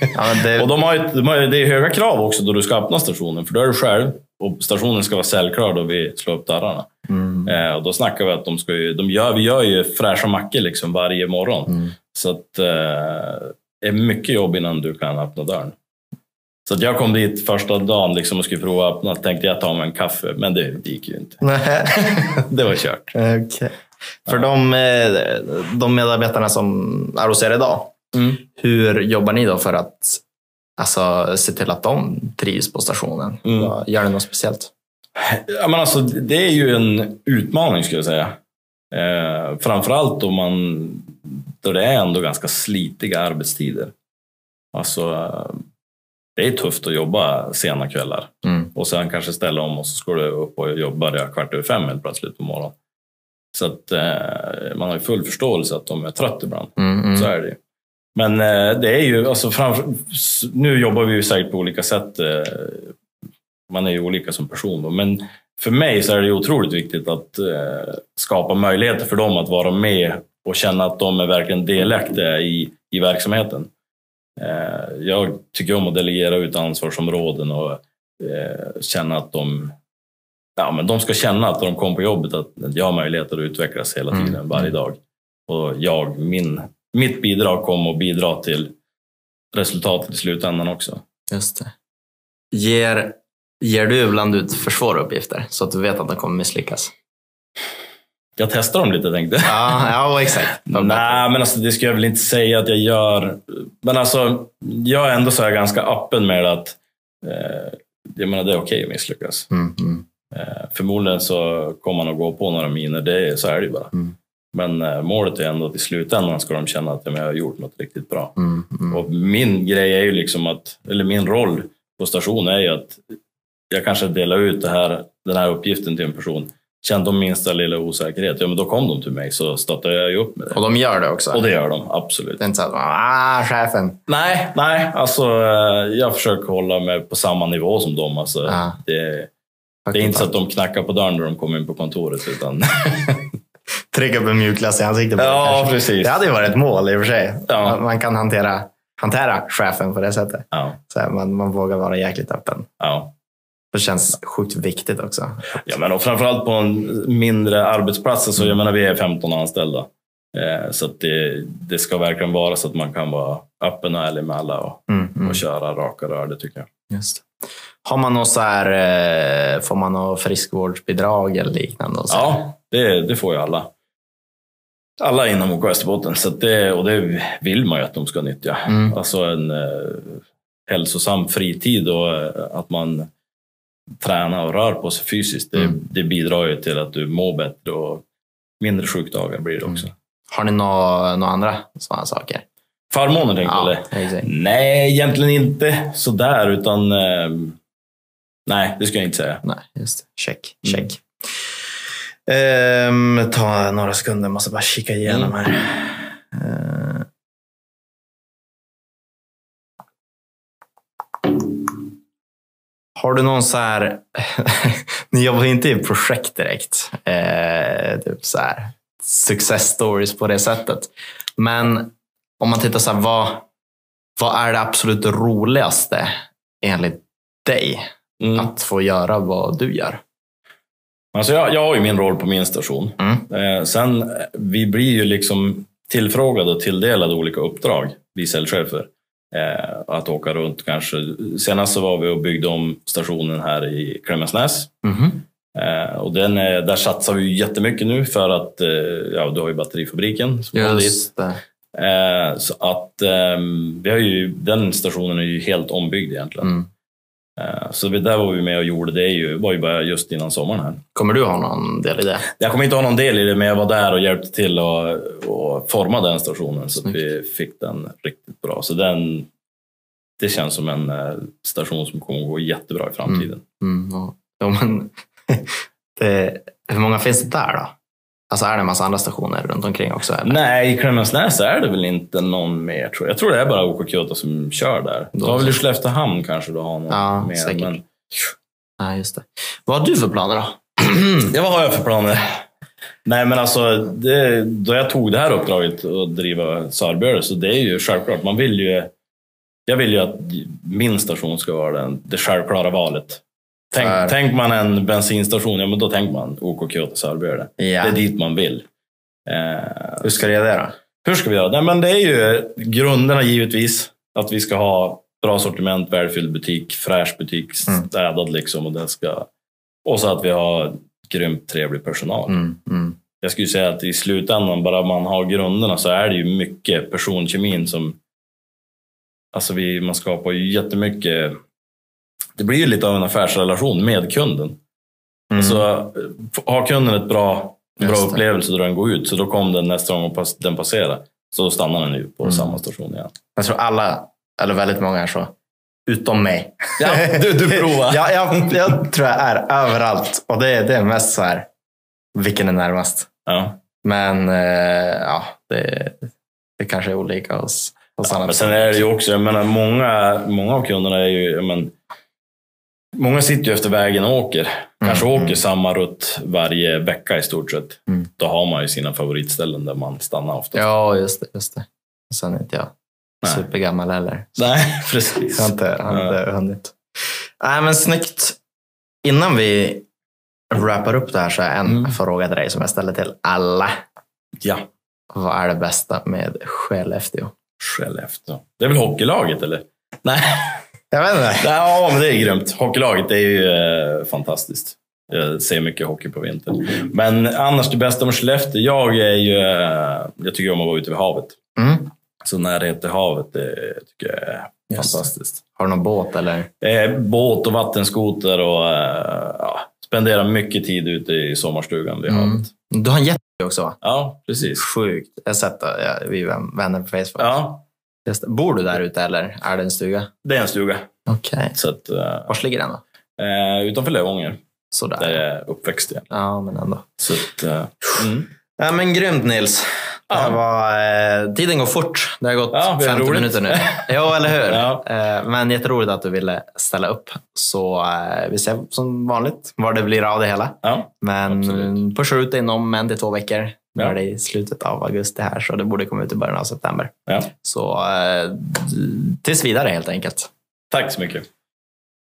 [SPEAKER 1] Mm. Ja, men
[SPEAKER 2] Och
[SPEAKER 1] det,
[SPEAKER 2] de har ju, de har ju, det är höga krav också då du ska öppna stationen, för då är du själv och stationen ska vara säljklar då vi slår upp dörrarna.
[SPEAKER 1] mm.
[SPEAKER 2] Eh, och då snackar vi att de ska ju, de gör, vi gör ju fräscha mackor liksom varje morgon.
[SPEAKER 1] Mm.
[SPEAKER 2] Så att, eh, det är mycket jobb innan du kan öppna dörren. Så att jag kom dit första dagen liksom och skulle prova att öppna, tänkte jag ta mig en kaffe, men det, det gick ju inte.
[SPEAKER 1] Nej.
[SPEAKER 2] Det var kört.
[SPEAKER 1] Okej. För de, eh, de medarbetarna som är hos er idag, hur jobbar ni då för att alltså, se till att de trivs på stationen?
[SPEAKER 2] Mm.
[SPEAKER 1] Vad- Gör ni något speciellt?
[SPEAKER 2] Ja, men alltså, det är ju en utmaning skulle jag säga. Eh, framförallt då, man, då det är ändå ganska slitiga arbetstider. Alltså, eh, det är tufft att jobba sena kvällar
[SPEAKER 1] Mm.
[SPEAKER 2] och sen kanske ställa om och så ska du upp och jobba där kvart över fem helt plötsligt på morgonen. Så att, eh, man har ju full förståelse att de är trötta ibland.
[SPEAKER 1] Mm, mm.
[SPEAKER 2] Så är det ju. Men eh, det är ju, alltså framför, s- nu jobbar vi ju säkert på olika sätt. eh, Man är ju olika som person. Då. Men för mig så är det ju otroligt viktigt att eh, skapa möjligheter för dem att vara med och känna att de är verkligen delaktiga i, i verksamheten. Eh, Jag tycker om att delegera ut ansvarsområden och eh, känna att de Ja, men de ska känna att när de kommer på jobbet att jag har möjlighet att utvecklas hela
[SPEAKER 1] Mm.
[SPEAKER 2] tiden, varje dag. Och jag, min, mitt bidrag kommer att bidra till resultatet i slutändan också.
[SPEAKER 1] Just det. Ger, ger du ibland ut för svåra uppgifter så att du vet att de kommer misslyckas?
[SPEAKER 2] Jag testar dem lite tänkte jag.
[SPEAKER 1] Ja, ja exakt.
[SPEAKER 2] Nej, men alltså, det ska jag väl inte säga att jag gör. Men alltså, jag är ändå så här ganska öppen med att eh, jag menar, det är okej att misslyckas.
[SPEAKER 1] Mm, mm.
[SPEAKER 2] Eh, förmodligen så kommer man att gå på några miner, det är, så är det ju bara.
[SPEAKER 1] Mm.
[SPEAKER 2] Men eh, målet är ändå att i slutändan ska de känna att ja, men jag har gjort något riktigt bra.
[SPEAKER 1] Mm, mm.
[SPEAKER 2] Och min grej är ju liksom att, eller min roll på station är ju att jag kanske delar ut det här, den här uppgiften till en person. Känner de minsta lilla osäkerhet, ja men då kom de till mig så stöttar jag ju upp med det.
[SPEAKER 1] Och de gör det också?
[SPEAKER 2] Och det gör de, absolut.
[SPEAKER 1] Det är inte så att man, ah, chefen.
[SPEAKER 2] Nej, nej, alltså eh, jag försöker hålla mig på samma nivå som dem. Alltså,
[SPEAKER 1] Ja.
[SPEAKER 2] det, det är inte så att de knackar på dörren när de kommer in på kontoret. Utan,
[SPEAKER 1] Trycka upp en mjukglass i ansiktet på det
[SPEAKER 2] ja,
[SPEAKER 1] kanske.
[SPEAKER 2] precis.
[SPEAKER 1] Det hade ju varit ett mål i och för sig.
[SPEAKER 2] Ja.
[SPEAKER 1] Man, man kan hantera, hantera chefen på det sättet.
[SPEAKER 2] Ja,
[SPEAKER 1] Så här, man, man vågar vara jäkligt öppen.
[SPEAKER 2] ja.
[SPEAKER 1] Det känns sjukt viktigt också.
[SPEAKER 2] Ja, men och framförallt på en mindre arbetsplats. Så jag menar, vi är 15 anställda. Eh, så att det, det ska verkligen vara så att man kan vara öppen och ärlig med alla och,
[SPEAKER 1] Mm, mm.
[SPEAKER 2] och köra raka rör, det tycker jag.
[SPEAKER 1] Just det. Har man något så här, eh, får man något friskvårdsbidrag eller liknande? Och så?
[SPEAKER 2] Ja, det, det får ju alla. Alla inom OK Västerbotten, så att det, och det vill man ju att de ska nyttja.
[SPEAKER 1] Mm.
[SPEAKER 2] Alltså en eh, hälsosam fritid och eh, att man tränar och rör på sig fysiskt, det,
[SPEAKER 1] Mm.
[SPEAKER 2] det bidrar ju till att du mår bättre och mindre sjukdagar blir det också.
[SPEAKER 1] Har ni några nå andra sådana saker?
[SPEAKER 2] Förmåner tänker du? eller?
[SPEAKER 1] exakt.
[SPEAKER 2] Nej, egentligen inte sådär, utan ehm, nej, det ska jag inte säga.
[SPEAKER 1] Nej, just det. Mm. Check, check. Ehm, ta några sekunder, måste bara kika igenom här. Ehm. Har du någon så här, ni jobbar inte i projekt direkt, eh, typ så här, success stories på det sättet. Men om man tittar så här, vad, vad är det absolut roligaste enligt dig
[SPEAKER 2] Mm.
[SPEAKER 1] att få göra vad du gör?
[SPEAKER 2] Alltså jag, jag har ju min roll på min station. Eh, sen, eh, vi blir ju liksom tillfrågade och tilldelade olika uppdrag, vi säljchefer. Eh, att åka runt kanske. Senast så var vi och byggde om stationen här i Klemensnäs.
[SPEAKER 1] Mhm.
[SPEAKER 2] Eh, och den, är- där satsar vi ju jättemycket nu för att eh, ja, du har ju batterifabriken som går dit.
[SPEAKER 1] Just det.
[SPEAKER 2] Eh, så att ehm, vi har ju, den stationen är ju helt ombyggd egentligen.
[SPEAKER 1] Mm.
[SPEAKER 2] Eh, så vi, där var vi med och gjorde det ju, var ju bara just innan sommaren här.
[SPEAKER 1] Kommer du ha någon del i det?
[SPEAKER 2] Jag kommer inte ha någon del i det, men jag var där och hjälpte till och, och forma den stationen så att
[SPEAKER 1] Mm.
[SPEAKER 2] vi fick den riktigt bra. Så den, det känns som en eh, station som kommer att gå jättebra i framtiden.
[SPEAKER 1] Mm, ja. ja, men, det, hur många finns det där då? Alltså är det en massa andra stationer runt omkring också? Eller?
[SPEAKER 2] Nej, i Klemensnäs är det väl inte någon mer tror jag. Jag tror det är bara OK Kyoto som kör där. Du har väl i Skelleftehamn kanske du har någon
[SPEAKER 1] Ja,
[SPEAKER 2] mer.
[SPEAKER 1] säkert.
[SPEAKER 2] Men,
[SPEAKER 1] Nej, just det. Vad har du för planer då?
[SPEAKER 2] ja, vad har jag för planer? Nej, men alltså, det, då jag tog det här uppdraget att driva Sörbjörn, så det är ju självklart. Man vill ju, jag vill ju att min station ska vara den, det självklara valet. Tänk,
[SPEAKER 1] För-
[SPEAKER 2] tänk man en bensinstation, ja men då tänker man OK Kyoto Sörbjörn.
[SPEAKER 1] Ja.
[SPEAKER 2] Det är dit man vill. Eh,
[SPEAKER 1] Hur ska du göra det då?
[SPEAKER 2] Hur ska vi göra? Nej, men det är ju grunderna givetvis. Att vi ska ha bra sortiment, välfylld butik, fräsch butik,
[SPEAKER 1] Mm.
[SPEAKER 2] städad liksom. Och, den ska... och så att vi har grymt trevlig personal.
[SPEAKER 1] Mm, mm.
[SPEAKER 2] Jag skulle säga att i slutändan, bara man har grunderna så är det ju mycket personkemin som... Alltså vi, man skapar ju jättemycket... Det blir ju lite av en affärsrelation med kunden.
[SPEAKER 1] Mm.
[SPEAKER 2] Alltså, f- har kunden ett bra, bra
[SPEAKER 1] Just det.
[SPEAKER 2] upplevelse då den går ut, så då kom den nästa gång och pass, den passerar. Så då stannar den ju på
[SPEAKER 1] Mm.
[SPEAKER 2] samma station igen.
[SPEAKER 1] Jag tror alla, eller väldigt många är så. Utom mig.
[SPEAKER 2] Ja, du, du provar.
[SPEAKER 1] ja, jag, jag tror jag är överallt. Och det, det är mest så här, vilken är närmast?
[SPEAKER 2] Ja.
[SPEAKER 1] Men eh, ja, det, det kanske är olika hos, hos alla.
[SPEAKER 2] Men sen är det ju också, jag menar, många, många av kunderna är ju, jag men, många sitter ju efter vägen och åker. Kanske
[SPEAKER 1] Mm,
[SPEAKER 2] åker
[SPEAKER 1] mm.
[SPEAKER 2] samma rutt varje vecka i stort sett.
[SPEAKER 1] Mm.
[SPEAKER 2] Då har man ju sina favoritställen där man stannar ofta.
[SPEAKER 1] Ja, just det. Just det. Och Sen är inte jag
[SPEAKER 2] Nej.
[SPEAKER 1] supergammal heller.
[SPEAKER 2] Nej,
[SPEAKER 1] Jag har
[SPEAKER 2] precis.
[SPEAKER 1] inte, jag har inte hunnit. Nej, men snyggt. Innan vi wrappar upp det här så har jag en
[SPEAKER 2] Mm.
[SPEAKER 1] fråga till dig som jag ställer till alla.
[SPEAKER 2] Ja,
[SPEAKER 1] Vad är det bästa med Skellefteå?
[SPEAKER 2] Skellefteå. Det är väl hockeylaget, eller? Nej.
[SPEAKER 1] Jag vet inte.
[SPEAKER 2] Ja, men det är grymt. Hockeylaget är ju eh, fantastiskt. Jag ser mycket hockey på vintern. Men annars det bästa med Skellefteå, jag är ju... Eh, jag tycker om att vara ute vid havet.
[SPEAKER 1] Mm.
[SPEAKER 2] Så närhet till havet, det tycker jag är
[SPEAKER 1] Just det.
[SPEAKER 2] fantastiskt.
[SPEAKER 1] Har du någon båt eller?
[SPEAKER 2] Eh, båt och vattenskoter och... Eh, ja, spendera mycket tid ute i sommarstugan vid
[SPEAKER 1] Mm.
[SPEAKER 2] havet.
[SPEAKER 1] Du har en jätte också va?
[SPEAKER 2] Ja, precis.
[SPEAKER 1] Sjukt. Jag har sett det. Jag- Vi är vänner på Facebook.
[SPEAKER 2] Ja,
[SPEAKER 1] Just det. Bor du där ute eller är det en stuga?
[SPEAKER 2] det är en stuga.
[SPEAKER 1] Okej.
[SPEAKER 2] Så att, eh,
[SPEAKER 1] Var ligger den då?
[SPEAKER 2] eh, utanför Lövånger,
[SPEAKER 1] Sådär.
[SPEAKER 2] där jag är uppväxt igen.
[SPEAKER 1] Ja, men ändå.
[SPEAKER 2] Så att, eh, mm.
[SPEAKER 1] Ja, men grymt Nils. Det här
[SPEAKER 2] Ja.
[SPEAKER 1] var, eh, tiden går fort. Det har gått
[SPEAKER 2] Ja, det är
[SPEAKER 1] 50
[SPEAKER 2] roligt.
[SPEAKER 1] minuter nu. Jo, eller hur?
[SPEAKER 2] Ja.
[SPEAKER 1] Eh, men jätteroligt att du ville ställa upp. Så eh, vi ser som vanligt vad det blir av det hela.
[SPEAKER 2] ja.
[SPEAKER 1] Men
[SPEAKER 2] Absolut.
[SPEAKER 1] pushar ut det inom en till två veckor. Nu
[SPEAKER 2] Ja.
[SPEAKER 1] är det i slutet av augusti här, så det borde komma ut i början av september.
[SPEAKER 2] Ja.
[SPEAKER 1] Så eh, tills vidare helt enkelt.
[SPEAKER 2] Tack så mycket.